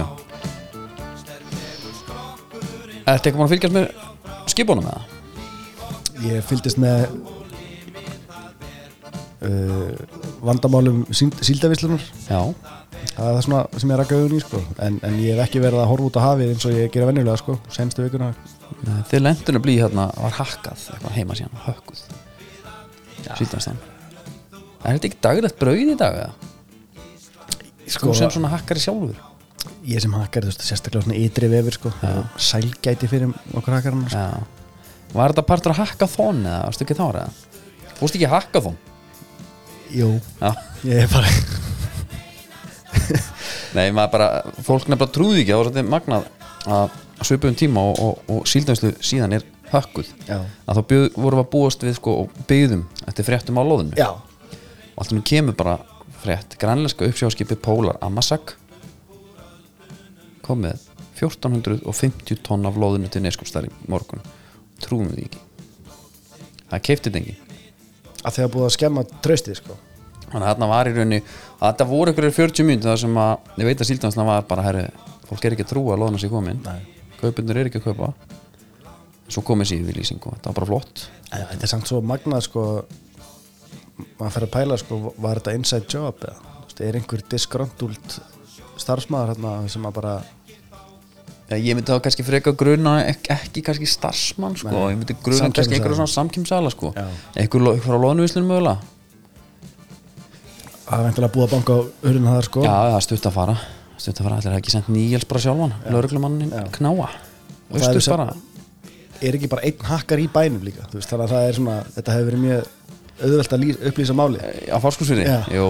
Speaker 1: Ertu eitthvað búin að fylgjast með skipunum eða?
Speaker 2: Ég fylgdist með uh, vandamálum síld, síldavislunar
Speaker 1: Já,
Speaker 2: það er svona sem ég rakka augun í sko. en, en ég hef ekki verið að horfa út á hafið eins og ég gera venjulega sko, senstu vikuna
Speaker 1: Nei, Þeir lendunum blí hérna var hakkað eitthvað heima síðan, hökkuð Sýtlandstan Er þetta ekki daglegt brauð í dag? eða?
Speaker 2: sko,
Speaker 1: Þú sem svona hakkari sjálfur
Speaker 2: ég sem hakkar, þú veist, sérstaklega svona ytri vefur sko, sælgæti fyrir okkur hakkarinn sko.
Speaker 1: Já Var þetta partur að hakka þón eða varstu ekki þára? Fórstu ekki að hakka þón?
Speaker 2: jú,
Speaker 1: Já
Speaker 2: ég er bara
Speaker 1: Nei, maður bara, fólk nefnilega trúði ekki það var svolítið magnað að svipum tíma og, og, og síldvænslu síðan er hökkuð
Speaker 2: Já.
Speaker 1: að þá bjöð, vorum við að búast við sko og byggðum eftir fréttum á loðinu
Speaker 2: já,
Speaker 1: og allt um kemur bara frétt grænlenska uppsjáskipi Pólar Amasak kom með 1450 tonn af loðinu til neskupstæri morgun trúum við því ekki það keiptið engin
Speaker 2: að þegar búið að skemma tröstið sko.
Speaker 1: þannig að þarna var í rauninni að þetta voru einhverjir 40 mínútur þar sem að ég veit að síldansna var bara herri, fólk er ekki að trúa að loðina sé komin kaupindur er ekki að kaupa svo komið sér við lýsingu þetta var bara flott
Speaker 2: En þetta er samt svo magnað sko maður fer að pæla sko var þetta inside job eða Þú veist, er einhver disgröndult starfsmæður hérna sem að bara
Speaker 1: Já, ég myndi þá kannski freka gruna ek, ekki kannski starfsmann sko, ég myndi gruna
Speaker 2: Samkeppnisaðila.
Speaker 1: kannski einhverja svona samkýmsala sko
Speaker 2: Já.
Speaker 1: einhver, lo- einhver á loðnuvislun mögulega
Speaker 2: að veintilega búið að banka á hurðina þar sko
Speaker 1: já, það er stutt að fara stutt að fara, allir hafa ekki sendt nýjels bara sjálfan lögreglumannin knáa
Speaker 2: Og það er
Speaker 1: austur
Speaker 2: sem-
Speaker 1: bara
Speaker 2: er ekki bara einn hakkar í bænum líka þú veist þannig að það er svona þetta hefur verið mjög auðvelt að lýs, upplýsa máli
Speaker 1: á fárskursfyrir,
Speaker 2: Já.
Speaker 1: jú,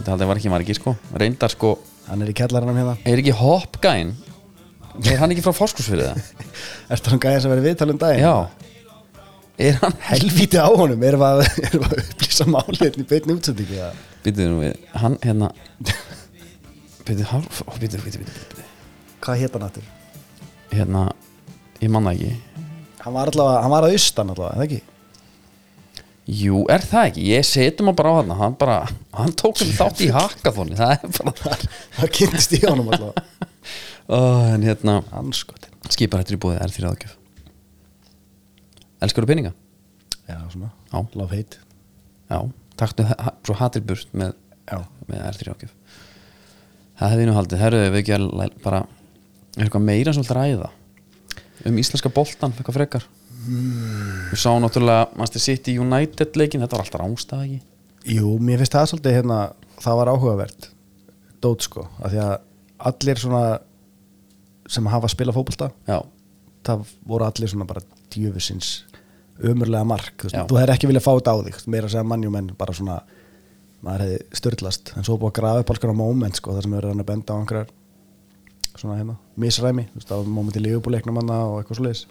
Speaker 1: þetta haldið var ekki margir sko reyndar sko,
Speaker 2: hann er í kjallarannum hérna
Speaker 1: er ekki hoppgæn er hann ekki frá fárskursfyrir það?
Speaker 2: Ertu hann gæðið sem verið viðtalum daginn?
Speaker 1: já er hann
Speaker 2: Helvíti á honum, erum við að, erum við að upplýsa máli hérna í beinni útsendingu eða?
Speaker 1: býtið nú við, hann hérna býtið, býtið, býtið, býtið
Speaker 2: Hvað hétt hann aftur?
Speaker 1: hérna, ég manna ekki
Speaker 2: Hann var allavega, hann var að austan allavega, eða ekki?
Speaker 1: Jú, er það ekki? Ég setjum hann bara á hann hann, bara, hann tók um þátt í hakathóni það er bara
Speaker 2: Það kynntist í honum allavega
Speaker 1: oh, en hérna,
Speaker 2: Anskotin
Speaker 1: skipar hættur í búið er því ráðgjöf Elskar þú peninga?
Speaker 2: Já, svona
Speaker 1: Já.
Speaker 2: Love hate
Speaker 1: Já, taktu ha- svo hatir burt með,
Speaker 2: Já.
Speaker 1: með er því ráðgjöf Það hefði ég nú haldið, herðu við ekki að læ- bara, er eitthvað meira svolítið að ræða um íslenska boltan, eitthvað frekar Við sáum náttúrulega Manchester City United leikin, þetta var alltaf rángstað ekki
Speaker 2: Jú, mér finnst það svolítið hérna Það var áhugavert Dót sko Af því að allir svona Sem hafa að spila fótbolta
Speaker 1: Já,
Speaker 2: Það voru allir svona bara djöfusins Ömurlega mark Þú,
Speaker 1: Já.
Speaker 2: veist, þú hefur ekki viljað fá þetta á þig Meira að segja mannjumenn bara svona Maður hefði störtlast En svo er búið að grafa upp alls konar moment sko Það sem verður hann að benda á einhverjar Svona hérna Misræmi Þú veist, það var moment í liðbúleiknum hann og eitthvað svoleiðis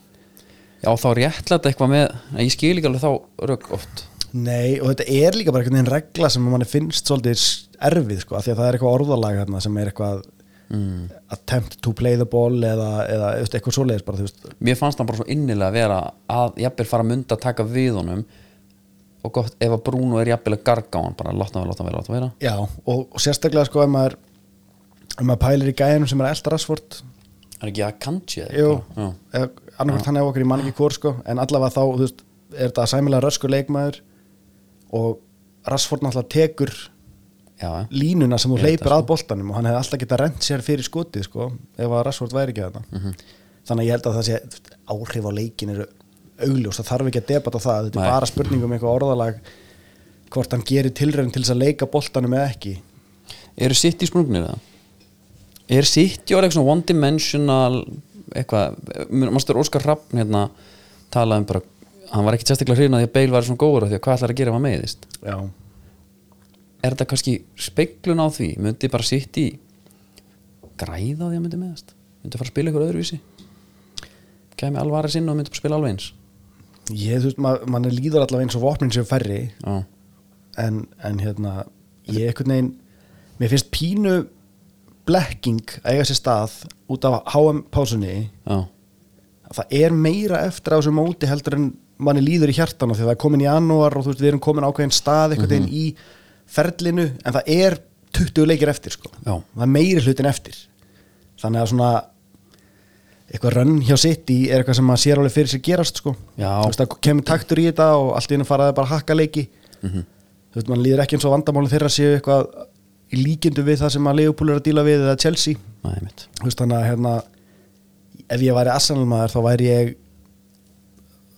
Speaker 1: Já, þá réttlæta eitthvað með Nei, ég skil ekki alveg þá rök oft
Speaker 2: Nei, og þetta er líka bara einhvern veginn regla sem manni finnst svolítið s- erfið sko, af því að það er eitthvað orðalag hérna sem er eitthvað attempt to play the ball eða, eða þú veist, eitthvað svoleiðis bara, þú veist,
Speaker 1: Mér fannst hann bara svo innilega að vera að jafnvel fara að mynda að taka við honum og gott, ef að Bruno er jafnvel að garga á hann bara láta hann vera, láta hann vera, láta hann vera
Speaker 2: já, og, og sérstaklega sko ef maður, ef maður pælir í gæðinum sem er elda rassvort
Speaker 1: Er ekki að kanji eða
Speaker 2: Jú,
Speaker 1: eitthvað? Já.
Speaker 2: annarkvæmt hann hefur okkur í mann ekki kór sko, en allavega þá, þú veist, er þetta sæmilega röskur leikmaður og rassvort náttúrulega tekur
Speaker 1: Já, já.
Speaker 2: línuna sem þú
Speaker 1: Ég veit sko.
Speaker 2: hleypir að boltanum og hann hefði alltaf getað rent sér fyrir skotið sko, ef að Rashford væri ekki þetta
Speaker 1: Mhm.
Speaker 2: þannig að ég held að það sé áhrif á leikin eru augljós, það þarf ekki að debata það þetta
Speaker 1: Nei.
Speaker 2: er bara spurning um eitthvað orðalag hvort hann gerir tilræðin til þess að leika boltanum eða ekki
Speaker 1: Eru sitt í sprungnir eða? Er sitt í orðið eitthvað svona one dimensional eitthvað, mannstur Óskar Rappn hérna talaði um bara hann var ekki sérstaklega hrýna því að Bale var svona góður af því að hvað ætlar að gera ef hann meiðist
Speaker 2: Já.
Speaker 1: er þetta kannski speiklun á því myndi bara sitt í græða á því að myndi meðast myndi fara að spila ykkur öðruvísi kæmi alvaris inn og myndi bara spila alveg eins
Speaker 2: ég, þú veist, ma mann líður allavega eins og vopnin séu færri
Speaker 1: já,
Speaker 2: en, en hérna ég einhvern veginn, mér finnst pínu blekking að eiga sér stað út af HM pásunni
Speaker 1: já,
Speaker 2: að það er meira eftir á þessu móti heldur en manni líður í hjartana því að það er komin í janúar og þú veist við erum komin á ákveðin stað einhvern
Speaker 1: Mhm.
Speaker 2: veginn í ferlinu en það er 20 leikir eftir sko
Speaker 1: Já.
Speaker 2: það er meiri hlutin eftir þannig að svona eitthvað rönn hjá sitt í er eitthvað sem maður sér alveg fyrir sér gerast sko
Speaker 1: Já.
Speaker 2: þú veist það kemur taktur í
Speaker 1: Mhm.
Speaker 2: þetta og allt í hennu faraði bara að hakka leiki þú veist mann líður ekki eins og vandamáli þeirra séu eitthvað í líkindu við það sem að Leopold er að díla við eða Chelsea
Speaker 1: Nei, mitt
Speaker 2: Þú veist, þannig að hérna, ef ég væri Arsenal maður þá væri ég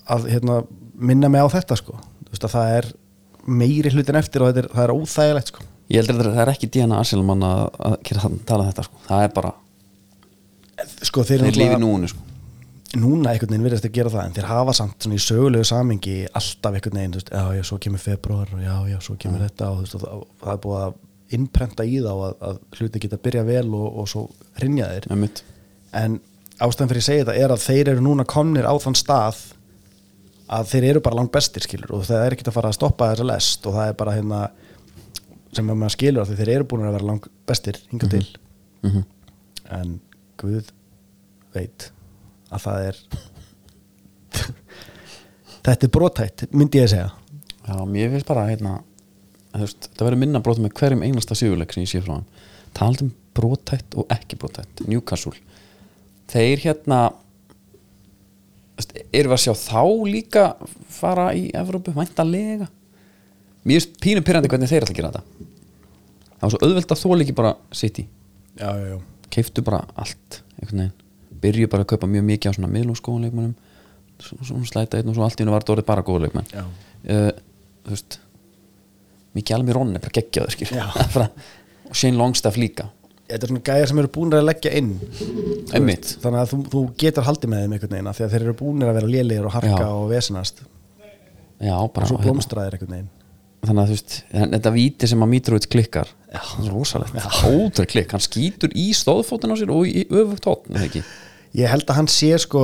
Speaker 2: að hérna, minna mig á þetta sko. Þú veist, að það er meiri hlutin eftir og þetta er, það er óþægilegt sko.
Speaker 1: Ég heldur að það er ekki DNA Arsenal mann að að gera þann tala þetta sko. það er bara,
Speaker 2: sko þeir,
Speaker 1: þeir lífi
Speaker 2: náttúrulega-
Speaker 1: núinu sko.
Speaker 2: núna einhvern veginn virðast að gera það en þeir hafa samt svona í sögulegu samingi alltaf einhvern veginn, þú veist, já, já, svo kemur februar og já, já, svo kemur þetta og þú veist, og það, það er búið að innprenta í þá að, að hluti geta byrja vel og, og svo rinja þeir
Speaker 1: Nei, mitt
Speaker 2: en ástæðan fyrir að segja þetta er að þeir eru núna komnir á þann stað að þeir eru bara langt bestir skilur og það er ekkert að fara að stoppa þessa lest og það er bara hérna sem að maður skilur að þeir eru búin að vera langt bestir hingað til Mhm. en Guð veit að það er þetta er brotætt myndi ég að segja
Speaker 1: Já, mér finnst bara hérna þú veist, það verður minna brotum með hverjum einasta sigurleik sem ég sé frá hann talað um brotætt og ekki brotætt Newcastle þeir hérna þú veist, erum við að sjá þá líka fara í Evrópu, væntalega mér finnst pínu pyrrandi hvernig þeir ætla að gera þetta það var svo auðvelt að þóla ekki bara City,
Speaker 2: já, já, já
Speaker 1: keiftu bara allt einhvern veginn, byrju bara að kaupa mjög mikið á svona miðlungsgóðan leikmönnum svo, svo slæta einn og svo allt í hennu var þetta orðið bara góða leikmenn
Speaker 2: Já.
Speaker 1: uh, þú veist mikið alveg mér onni, bara geggjaður skil
Speaker 2: Já.
Speaker 1: og Shane Longstaff líka
Speaker 2: þetta er svona gæjar sem eru búin að leggja inn
Speaker 1: Einmitt.
Speaker 2: þannig að þú, þú getur haldið með þeim einhvern veginn af því að þeir eru búin að vera lélegir og harka
Speaker 1: Já.
Speaker 2: og vesinast og
Speaker 1: Já, bara,
Speaker 2: svo
Speaker 1: hérna.
Speaker 2: blómstraðir einhvern veginn
Speaker 1: þannig að þú veist en þetta víti sem að Mitrovic klikkar Já. það er rosalegt, ótrúð klikk hann skýtur í stóðfótinn á sér og í öfugt hótt ekki,
Speaker 2: ég held að hann sé sko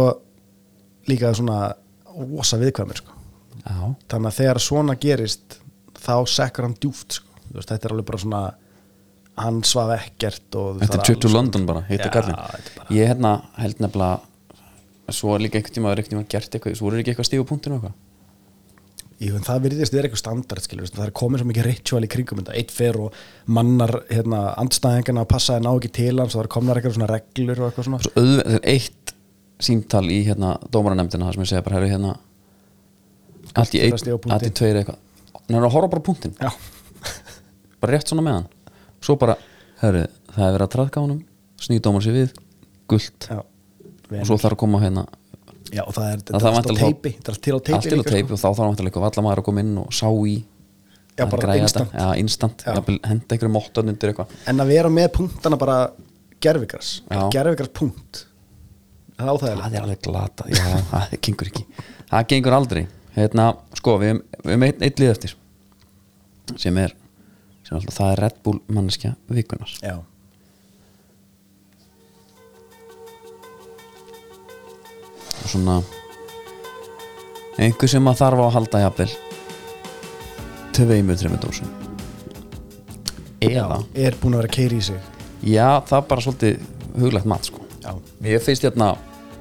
Speaker 2: líka svona rosa viðkvæmur sko
Speaker 1: já,
Speaker 2: þannig að þegar svona gerist þá sekkur hann djúft sko Þú veist, þetta er alveg bara svona hann svaf ekkert og
Speaker 1: þetta
Speaker 2: það
Speaker 1: er 20
Speaker 2: alveg-
Speaker 1: London bara,
Speaker 2: Já,
Speaker 1: heita
Speaker 2: þetta er bara-
Speaker 1: kallinn ég hérna held nefnilega svo er líka einhvern tíma, er einhvern tíma gert eitthvað svo er ekki eitthvað stífu punktinu eitthvað
Speaker 2: Jú, en það virðist vera eitthvað standard skilur, það er komið svo mikið ritual í kringum þetta eitt fer og mannar hérna, andstæðingana að passa þeir ná ekki til hans og það er komnar eitthvað svona reglur og eitthvað svona
Speaker 1: svo auðvitað, það er eitt símtal í hérna dómaranefndina þar sem ég segja bara, herru hérna allt í
Speaker 2: fyrir að
Speaker 1: einn,
Speaker 2: stíga á punktinn.
Speaker 1: allt í tveir eitthvað hann er að horfa bara á punktin,
Speaker 2: Já,
Speaker 1: bara rétt svona með hann svo bara, herru, það er verið að traðka honum snýr dómar sér við, gult
Speaker 2: já,
Speaker 1: og svo þarf að koma hérna
Speaker 2: já og það er,
Speaker 1: það
Speaker 2: þetta er allt á
Speaker 1: væntanlega þá-
Speaker 2: teipi þetta er allt til á teipi
Speaker 1: allt til á
Speaker 2: líka, sko.
Speaker 1: teipi og þá þarf náttúrulega eitthvað vallamaður að koma inn og sá í
Speaker 2: Já,
Speaker 1: að
Speaker 2: bara
Speaker 1: græja
Speaker 2: instant.
Speaker 1: þetta. já, instant,
Speaker 2: Já.
Speaker 1: jafnvel henda einhverju móttan undir eitthvað
Speaker 2: en að vera með punktana bara gerfigras,
Speaker 1: Já.
Speaker 2: gerfigras punkt það er áþægilegt
Speaker 1: það er alveg glata, já, það gengur ekki það gengur aldrei hérna, sko, við höfum- við höfum einn eitt lið eftir sem er sem alltaf, það er Red Bull manneskja vikunars
Speaker 2: já,
Speaker 1: og svona einhver sem að þarf á að halda jafnvel tveimur, þreimur dósum eða
Speaker 2: er búin að vera keiri í sig
Speaker 1: já, það er bara svolítið huglægt mat, sko
Speaker 2: já,
Speaker 1: Ég finnst hérna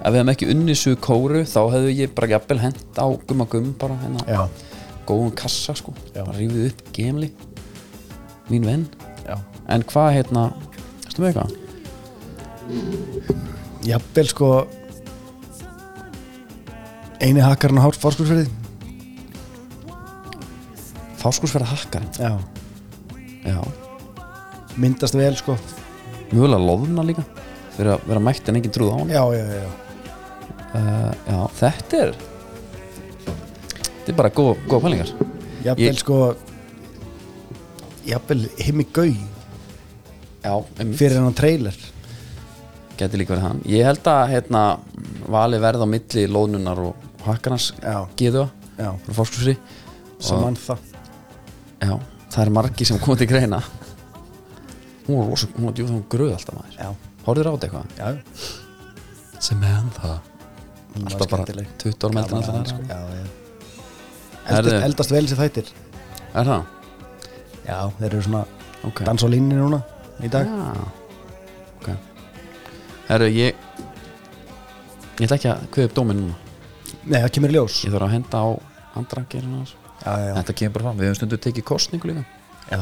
Speaker 1: ef við hefum ekki unnið svo kóru þá hefðu ég bara jafnvel hent á gumma gum bara hérna
Speaker 2: já,
Speaker 1: góðum kassa sko
Speaker 2: Já.
Speaker 1: bara rífið upp gemli mín venn
Speaker 2: já
Speaker 1: en hvað hérna erstu með eitthvað?
Speaker 2: jafnvel sko eini hakkarinn á hátt fórskursverði
Speaker 1: Fáskúrsverða hakkar
Speaker 2: já,
Speaker 1: Já
Speaker 2: myndast vel sko
Speaker 1: Mjögulega loðuna líka vera, vera mætt en engin trúð á hann
Speaker 2: já, já, já, já.
Speaker 1: Já þetta er þetta er bara góð, góð pælingar
Speaker 2: jafnvel
Speaker 1: Ég-
Speaker 2: sko jafnvel himmi gau
Speaker 1: Já einmitt.
Speaker 2: fyrir hennan trailer
Speaker 1: Gæti líka verið hann Ég held að hérna, vali verð á milli lónunar og hakkarnas
Speaker 2: Já.
Speaker 1: geðu
Speaker 2: Já.
Speaker 1: frá fórskúsri
Speaker 2: sem mann það
Speaker 1: Já, það er margi sem komið til greina Hún var rosa, hún var djúð hún gröð alltaf maður
Speaker 2: Já.
Speaker 1: Hárður á þetta eitthvað?
Speaker 2: já,
Speaker 1: Sem er hann það
Speaker 2: hún var
Speaker 1: Alltaf bara
Speaker 2: skemmtileg.
Speaker 1: 20 ára meldin
Speaker 2: Gaman
Speaker 1: alltaf
Speaker 2: að hann,
Speaker 1: það
Speaker 2: sko.
Speaker 1: sko.
Speaker 2: já, já.
Speaker 1: Herðu.
Speaker 2: Eldast, eldast vel sér þættir
Speaker 1: Er það?
Speaker 2: já, þeir eru svona
Speaker 1: Ok.
Speaker 2: dans á línni núna í dag
Speaker 1: Já Ok Herru, ég Ég ætla ekki að kveða upp dóminn núna
Speaker 2: nei, það kemur í ljós
Speaker 1: Ég þarf að henda á andra gerina hans
Speaker 2: já, já,
Speaker 1: Þetta kemur bara fram, við höfum stundu tekið kostningu líka
Speaker 2: já,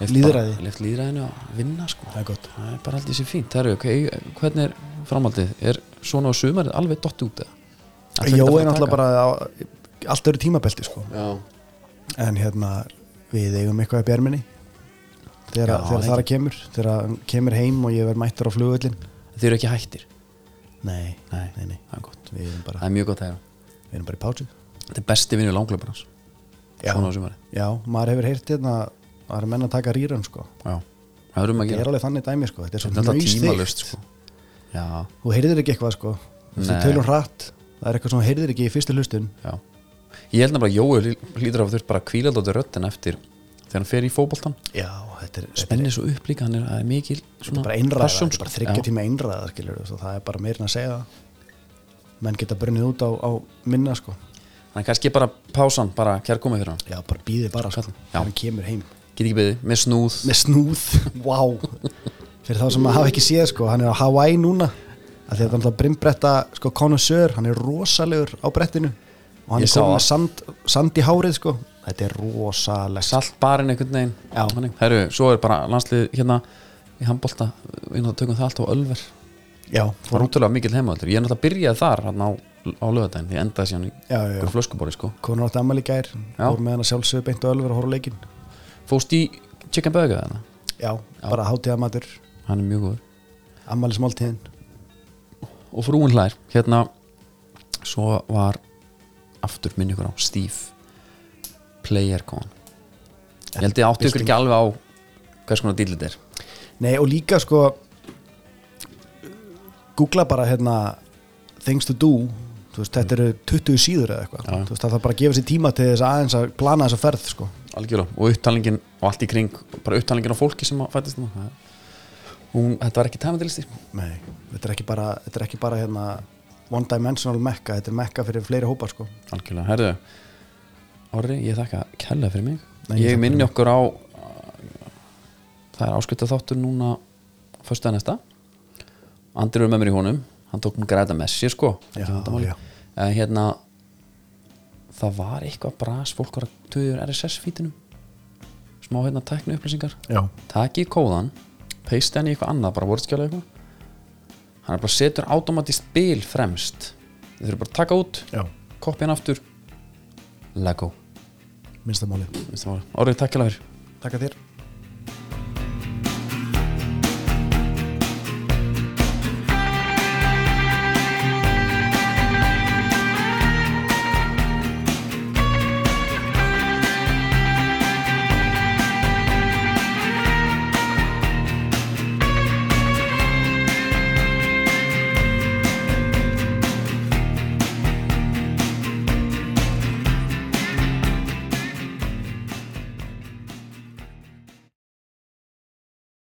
Speaker 1: Leyft
Speaker 2: Lýðræði.
Speaker 1: bara- Leyft líðræðinu að vinna sko
Speaker 2: það er gott
Speaker 1: Það er bara aldrei sér fínt Herru, okay, hvernig er framhaldið? Er svona á sumarið alveg dott út eða? Ætlarðu
Speaker 2: Jó
Speaker 1: þetta að fara að
Speaker 2: er náttúrulega
Speaker 1: taka?
Speaker 2: bara á, allt eru tímabelti sko
Speaker 1: Já
Speaker 2: en hérna við eigum eitthvað í björminni
Speaker 1: Já,
Speaker 2: þegar, þegar
Speaker 1: lengi.
Speaker 2: þar að kemur þegar hann kemur heim og ég verð mættur á flugvöllin
Speaker 1: Þið eru ekki hættir
Speaker 2: nei,
Speaker 1: Nei,
Speaker 2: nei, nei.
Speaker 1: það er gott.
Speaker 2: Við, erum
Speaker 1: Það
Speaker 2: bara,
Speaker 1: er mjög gott að heyra
Speaker 2: við erum bara í pásu
Speaker 1: Þetta er besti vinur langleipur hans
Speaker 2: Já.
Speaker 1: Svona á sumari
Speaker 2: já, maður hefur heyrt hérna að það er menn að taka rýrun sko.
Speaker 1: Já Það er um að
Speaker 2: það
Speaker 1: gera
Speaker 2: er alveg þannig dæmi sko. þetta er
Speaker 1: Þetta
Speaker 2: svo
Speaker 1: er
Speaker 2: nöysþygt
Speaker 1: tímalust sko Já,
Speaker 2: þú heyrðir ekki eitthvað sko. þú
Speaker 1: Nei.
Speaker 2: tölum hratt það er eitthvað sem þú heyrðir ekki í fyrstu hlustun
Speaker 1: já Ég held nefnilega að Jói lí- hlýtur að þurft bara að kvíla dóttir röddin eftir þegar hann fer í fótboltan
Speaker 2: já, þetta er, þetta er,
Speaker 1: Spennir svo upp líka, hann er, það er mikil sko.
Speaker 2: þetta er bara einræða þetta er bara þryggja tíma einræða skilur, það er bara meirinn að segja það menn geta brunnið út á, á minna sko.
Speaker 1: Þannig kannski bara pásan, bara kærkomið fyrir hann
Speaker 2: já, bara býðið bara sko.
Speaker 1: Kallinn, já.
Speaker 2: þegar hann kemur heim
Speaker 1: Get ekki beðið, með snúð
Speaker 2: með snúð, wow fyrir þá sem að hafa ekki séð sko, hann er á Hawaii núna af því að það er alltaf brimbretta sko konusör, hann er rosalegur á brettinu og hann
Speaker 1: Ég
Speaker 2: er
Speaker 1: sá
Speaker 2: komið með
Speaker 1: það.
Speaker 2: sand, sand í hárið sko þetta er rosalegt
Speaker 1: Salt barinn einhvern veginn
Speaker 2: Já.
Speaker 1: Þannig. Herru, svo er bara landslið hérna í handbolta, við náttúrulega tökum það allt á Ölver
Speaker 2: já,
Speaker 1: Það var
Speaker 2: fór,
Speaker 1: útrúlega mikill heimavöldur Ég er náttúrulega byrjaði þar hann á, á lögadaginn Ég endaði síðan í
Speaker 2: Já, já, já.
Speaker 1: einhverju flöskubóri sko.
Speaker 2: konur átti ammali gær fór með hann að sjálfsögðu beint og ölver að horfa á leikinn
Speaker 1: Fóst í chicken burger þarna
Speaker 2: já, bara hátíðamatur,
Speaker 1: Hann er mjög góður
Speaker 2: ammali smáltíðin
Speaker 1: Og frúin hlær Hérna Svo var Aftur minn ykkur á Steve Playercon Ég held ég áttu ykkur ekki alveg á Hvers konar dýl þetta er
Speaker 2: nei og líka sko googla bara hérna things to do þú veist, þetta eru 20 síður eða eitthvað
Speaker 1: Já.
Speaker 2: Þú veist, það þarf bara að gefa sér tíma til þess aðeins að plana þessa ferð sko.
Speaker 1: Algjörlega Og upptalningin Og allt í kring Bara upptalningin á fólki sem að fættist þarna Það- Hún, þetta var ekki tæmendilisti
Speaker 2: Nei, þetta er ekki bara, þetta er ekki bara hérna, one dimensional mekka, þetta er mekka fyrir fleiri hópar sko.
Speaker 1: Algjörlega, herðu Orri, ég þakka kærlega fyrir mig
Speaker 2: Nei, ég
Speaker 1: Ég
Speaker 2: þakka
Speaker 1: minni okkur á Það er áskrifta þáttur núna Föstuða næsta Andri er með mér í honum, hann tók mér græta með sér sko
Speaker 2: Já,
Speaker 1: Ekki vandamáli.
Speaker 2: já.
Speaker 1: En hérna Það var eitthvað bras fólk var að töður RSS fítinum Smá hérna tæknu upplýsingar
Speaker 2: Já.
Speaker 1: Taki kóðan, paste hann í eitthvað annað bara vortskjála eitthvað Hann er bara setur automatist bil fremst Þið þurfum bara að taka út
Speaker 2: Já.
Speaker 1: koppi hann aftur Lego
Speaker 2: Minnstamáli.
Speaker 1: Orðið takkilega fyrir
Speaker 2: Takk að þér.